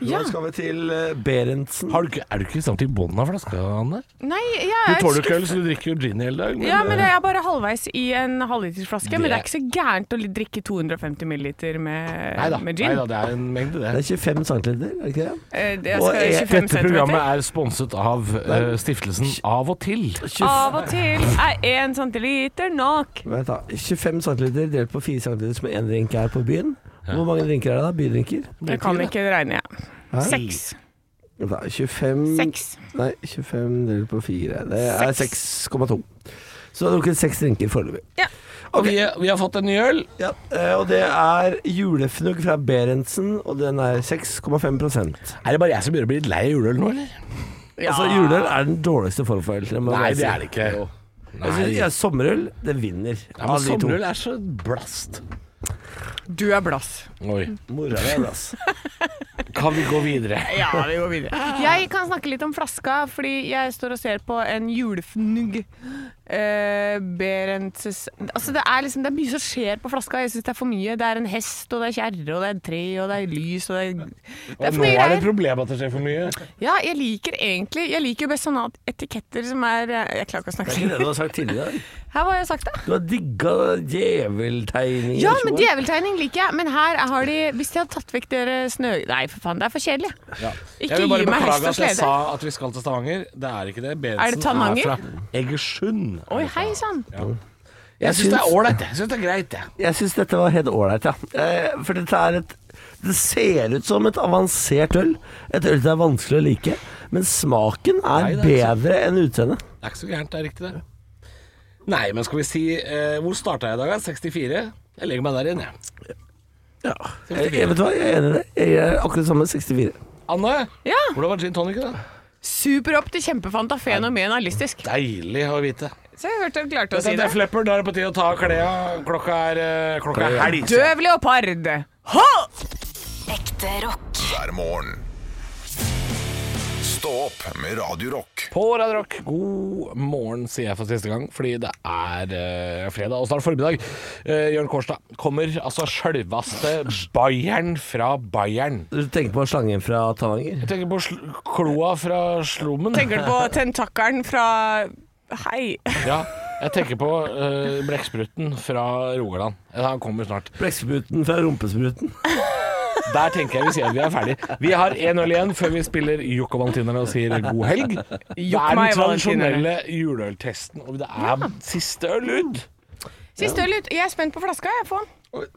C: Ja.
E: Nå skal vi til eh, Berentsen.
D: Har du ikke, er du ikke samt i bånn av flaska, Anne?
C: Nei, jeg er
D: Du tåler jo ikke øl, så du drikker jo gin i hele dag. eh,
C: Ja, men jeg er bare halvveis i en halvlitersflaske. Men
D: Det-
C: det er ikke så gærent å li- drikke 250 milliliter med,
D: Neida,
C: med gin.
D: neida, det er en mengde, det.
E: Det er 25 cm, er det ikke det?
C: Eh, det
E: Og
C: skal
E: jeg-
C: 25
D: E- Dette programmet
C: centimeter.
D: er sponset av eh, stiftelsen Av og til.
C: Av og til er én centiliter nok.
E: Vent da, 25 cm delt på 4 cm som en drink er på byen. Hvor mange drinker er det da? Bydrinker?
C: Jeg kan ikke regne, jeg. Seks.
E: Vent da, 25
C: Seks.
E: Nei, 25 delt på 4. Det er
C: Seks.
E: 6,2. Så du har drukket seks drinker foreløpig.
D: Og vi, vi har fått en ny øl.
E: Ja, eh, og det er julefnugg fra Berentsen, og den er 6,5
D: Er det bare jeg som begynner å bli litt lei av juleøl nå, eller?
E: Altså, juleøl er den dårligste form for øl. må jeg
D: Nei,
E: bare si.
D: det er det ikke. Nei.
E: Jeg synes, ja, sommerøl, det vinner.
D: Ja, men Altså, sommerøl er så blast.
C: Du er blass.
D: Oi.
E: Mora di, ass.
D: Kan vi gå videre?
C: Ja,
D: *laughs*
C: vi går videre. Jeg kan snakke litt om flaska, fordi jeg står og ser på en julefnugg. Eh, Berentses Altså, det er liksom Det er mye som skjer på flaska. Jeg syns det er for mye. Det er en hest, og det er kjerre, og det er et tre, og det er lys, og det er Det er
D: Og
C: for
D: nå
C: mye
D: er det
C: greier.
D: et problem at det skjer for mye.
C: Ja, jeg liker egentlig Jeg liker jo best sånne etiketter som er eh, Jeg klarer ikke
E: Det
C: å snakke
E: er ikke det du har sagt tidligere.
C: Her var jeg sagt det.
E: Du har digga djeveltegninger.
C: Ja, men
E: Sjoa.
C: djeveltegning liker jeg. Men her har de Hvis de hadde tatt vekk dere snø... Nei, for faen, det er for kjedelig. Ikke
D: Jeg vil bare
C: gi meg
D: beklage
C: hest
D: at
C: og
D: jeg sa
C: slede.
D: at vi skal til Stavanger. Det er ikke det. Berentsen
C: Er det Tananger?
D: fra Egersund.
C: Oi, hei sann.
D: Jeg syns det er ålreit, jeg. Jeg synes det er greit, jeg.
E: Jeg syns dette var helt ålreit, ja. Eh, For dette er et Det ser ut som et avansert øl. Et øl det er vanskelig å like. Men smaken er,
D: Nei, det er ikke
E: bedre enn utseendet.
D: Det er ikke så gærent, det er riktig, det. Nei, men skal vi si eh, Hvor starta jeg i dag, da? 64? Jeg legger meg der igjen, jeg.
E: Ja. Jeg, Eh, jeg, vet du hva, jeg er enig i det. Jeg er akkurat samme 64.
D: Anne,
C: Ja.
D: hvordan var gin tonic? da?
C: Super opp til kjempefanta fenomenalistisk.
D: Deilig å vite.
C: Så jeg hørte du klarte å si
D: Dette
C: det.
D: er Flipper, da er det på tide å ta av klærne. Klokka er, eh, klokka er helg.
C: Døv leopard. Ha!
A: Ekte rock.
B: hver morgen. Stå opp med Radio Rock.
D: På Radio Rock, god morgen, sier jeg for siste gang, fordi det er eh, fredag og snart formiddag. Uh, Jørn Kårstad kommer, altså sjølvaste Bayern fra Bayern.
E: Du tenker på slangen fra Tananger?
D: Jeg tenker på sl kloa fra slummen.
C: Tenker du på tentakkelen fra Hei.
D: Ja, jeg tenker på uh, blekkspruten fra Rogaland. Ja, Han kommer snart.
E: Blekkspruten fra rumpespruten.
D: Der tenker jeg vi sier at vi er ferdig. Vi har én øl igjen før vi spiller Jokk og Valentinerne og sier god helg. Det er den
C: meg,
D: tradisjonelle juleøltesten, og det er siste øl ut.
C: Siste øl ut. Jeg er spent på flaska, jeg får den.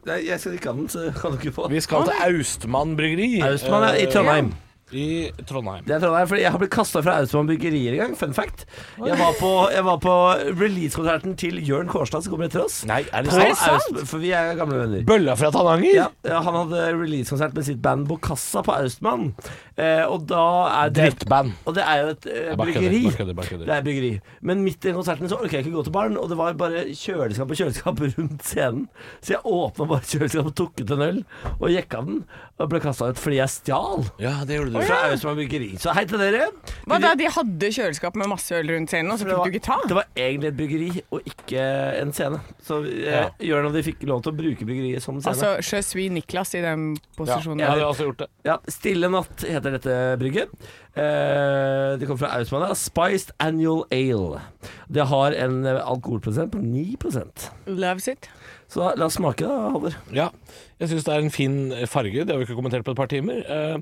E: Nei, jeg skal ikke ha den, så kan du ikke få.
D: Vi skal til Austmann bryggeri
E: Austmann er i Trondheim.
D: eh, i Trondheim.
E: Det er Trondheim, fordi Jeg har blitt kasta fra Austmann Byggerier en gang. Fun fact. Jeg var på, jeg var på releasekonserten til Jørn Kårstad, som kommer etter oss.
D: Nei, er det
E: På
D: sant?
E: Aust- For vi er gamle venner.
D: Bølla fra Tananger?
E: Ja, ja, han hadde releasekonsert med sitt band Bokassa på Austmann. Eh, og da er det
D: Drittband.
E: Og det er jo et eh,
D: Jeg bare kødder,
E: bryggeri.
D: bare kødder, bare kødder.
E: Det er bryggeri. Men midt i konserten så orka jeg ikke gå til baren, og det var bare kjøleskap og kjøleskap *laughs* rundt scenen. Så jeg åpna bare kjøleskapet og tok ut en øl, og jekka den. Og ble kasta ut fordi jeg stjal
D: Ja, det gjorde du.
E: fra Austmann bryggeri. Så hei til dere.
C: Hva da, de hadde kjøleskap med masse øl rundt scenen, og så
E: Det
C: fikk
E: var,
C: du ikke ta?
E: det var egentlig et bryggeri og ikke en scene. Så eh,
D: Ja.
E: Jørn og de fikk lov til å bruke bryggeriet som scene.
C: Altså Je suis Niklas i den
D: Ja,
C: posisjonen.
D: jeg
C: Ja,
D: hadde også gjort det.
E: Ja, Stille natt heter dette brygget. Eh, det kommer fra Austmann. ja. Spiced Annual Ale. Det har en eh, alkoholprosent på 9
C: Loves it.
E: Så da, la oss smake, da, Halvor.
D: Ja, jeg syns det er en fin farge. Det har vi ikke kommentert på et par timer. Eh,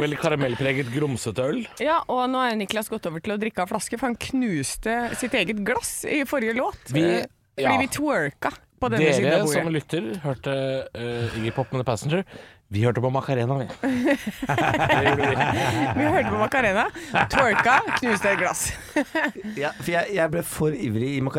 D: veldig karamellpreget, grumsete øl.
C: Ja, og nå er Niklas gått over til å drikke av flaske, for han knuste sitt eget glass i forrige låt.
D: Vi-
C: Eh,
D: ja.
C: Fordi vi twerka på denne siden
D: Dere
C: av
D: som
C: bordet.
D: lytter, hørte eh, Iggy Pop med The Passenger. Vi hørte på Macarena. vi.
C: Vi hørte på Macarena. Twerka, knuste et glass.
E: Ja, for jeg, jeg ble for ivrig i *laughs*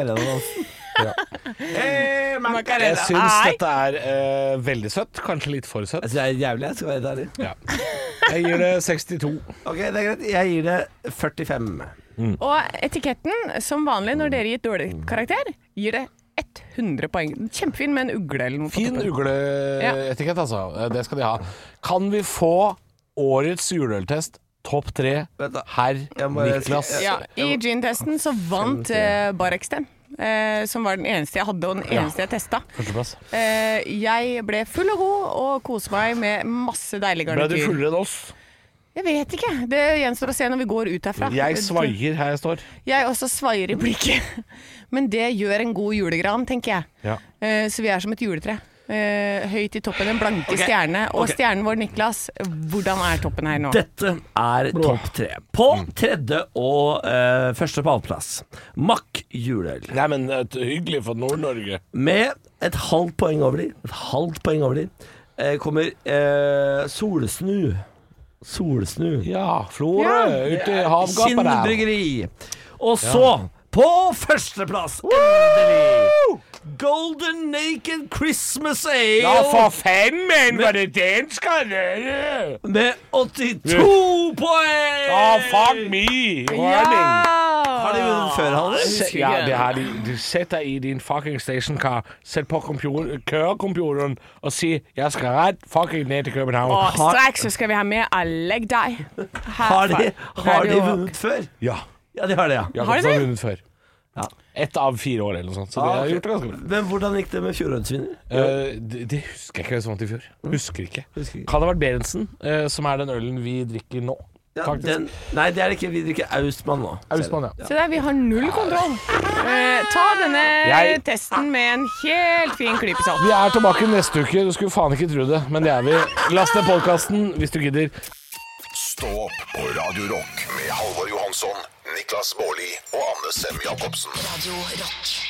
E: Eh, macarenaen.
C: Macarena.
D: Jeg syns
C: Nei.
D: dette er eh, veldig søtt. Kanskje litt for søtt.
E: Altså, det er jævlig, jeg skal være helt ærlig.
D: Ja. *laughs* Jeg gir det 62.
E: Ok, det er greit. Jeg gir det 45.
C: Og etiketten, som vanlig når dere gir dårlig karakter, gir det 100 poeng. Kjempefin med en ugle eller noe. på
D: Fin
C: toppen.
D: ugleetikett, altså. Eh, Det skal de ha. Kan vi få årets juleøltest topp tre
E: Vent da.
D: herr
E: Jeg må-
D: Niklas?
C: Ja, I gin-testen så vant eh, Barexten. eh, som var den eneste jeg hadde, og den eneste jeg testa.
I: Førsteplass.
C: Eh, jeg ble full og god og koste meg med masse deilig
I: Ble du
C: garnityr.
I: fullere enn oss?
C: Jeg vet ikke. Det gjenstår å se når vi går ut herfra.
I: Jeg svaier her jeg står.
C: Jeg også svaier i blikket. *laughs* Men det gjør en god julegran, tenker jeg.
I: Ja.
C: Eh, Så vi er som et juletre. Eh, høyt i toppen, en blanke stjerne. Og stjernen vår, Niklas, hvordan er toppen her nå?
E: Dette er topp tre. På tredje og eh, første på andreplass. Mack juleøl.
D: Nei, men eh, hyggelig for Nord-Norge.
E: Med et halvt poeng over de, et halvt poeng over de, eh, kommer eh, Solsnu. Solsnu.
D: Ja, Florø ute i havgapet
E: Kinn
D: der.
E: bryggeri. Og så, på førsteplass, endelig, Golden Naked Christmas Ale
D: Ja, for fanden, var det den skal gjøre?
E: med 82 poeng!
D: Ja, fuck me! Rønning.
E: Har de vunnet før, Halvor?
D: Se- Ja, det har de. Du setter i din fucking stationcar, sett på computer, kørecomputeren og si 'jeg skal rett fucking ned til København'.
C: Og straks så skal vi ha med Alleg deg.
E: Har de, har de vunnet før?
D: Ja.
E: Ja, de har det, Ah, ja.
D: Jeg har
C: Har de
D: ikke
C: det?
D: vunnet før. Ett av fire år eller noe sånt. Så det har gjort det altså. ganske bra.
E: Men hvordan gikk det med fjorårets vinner?
D: Eh, det, det husker jeg ikke hvem som vant i fjor. Husker ikke.
E: Husker ikke.
D: Kan det ha vært Berentsen, eh, som er den ølen vi drikker nå?
E: Ja,
D: Faktisk.
E: den, nei, det er det ikke. Vi drikker Austmann nå.
D: Austmann, ja.
C: Se der, vi har null kontroll. Eh, ta denne
D: Jeg-
C: testen med en helt fin klype salt.
D: Vi er tilbake neste uke. Du skulle faen ikke tro det, men det er vi. Last ned podkasten hvis du gidder.
B: Stå opp på Radio Rock med Halvor Johansson, Niklas Baarli og Anne Sem Jacobsen.
A: Radio Rock.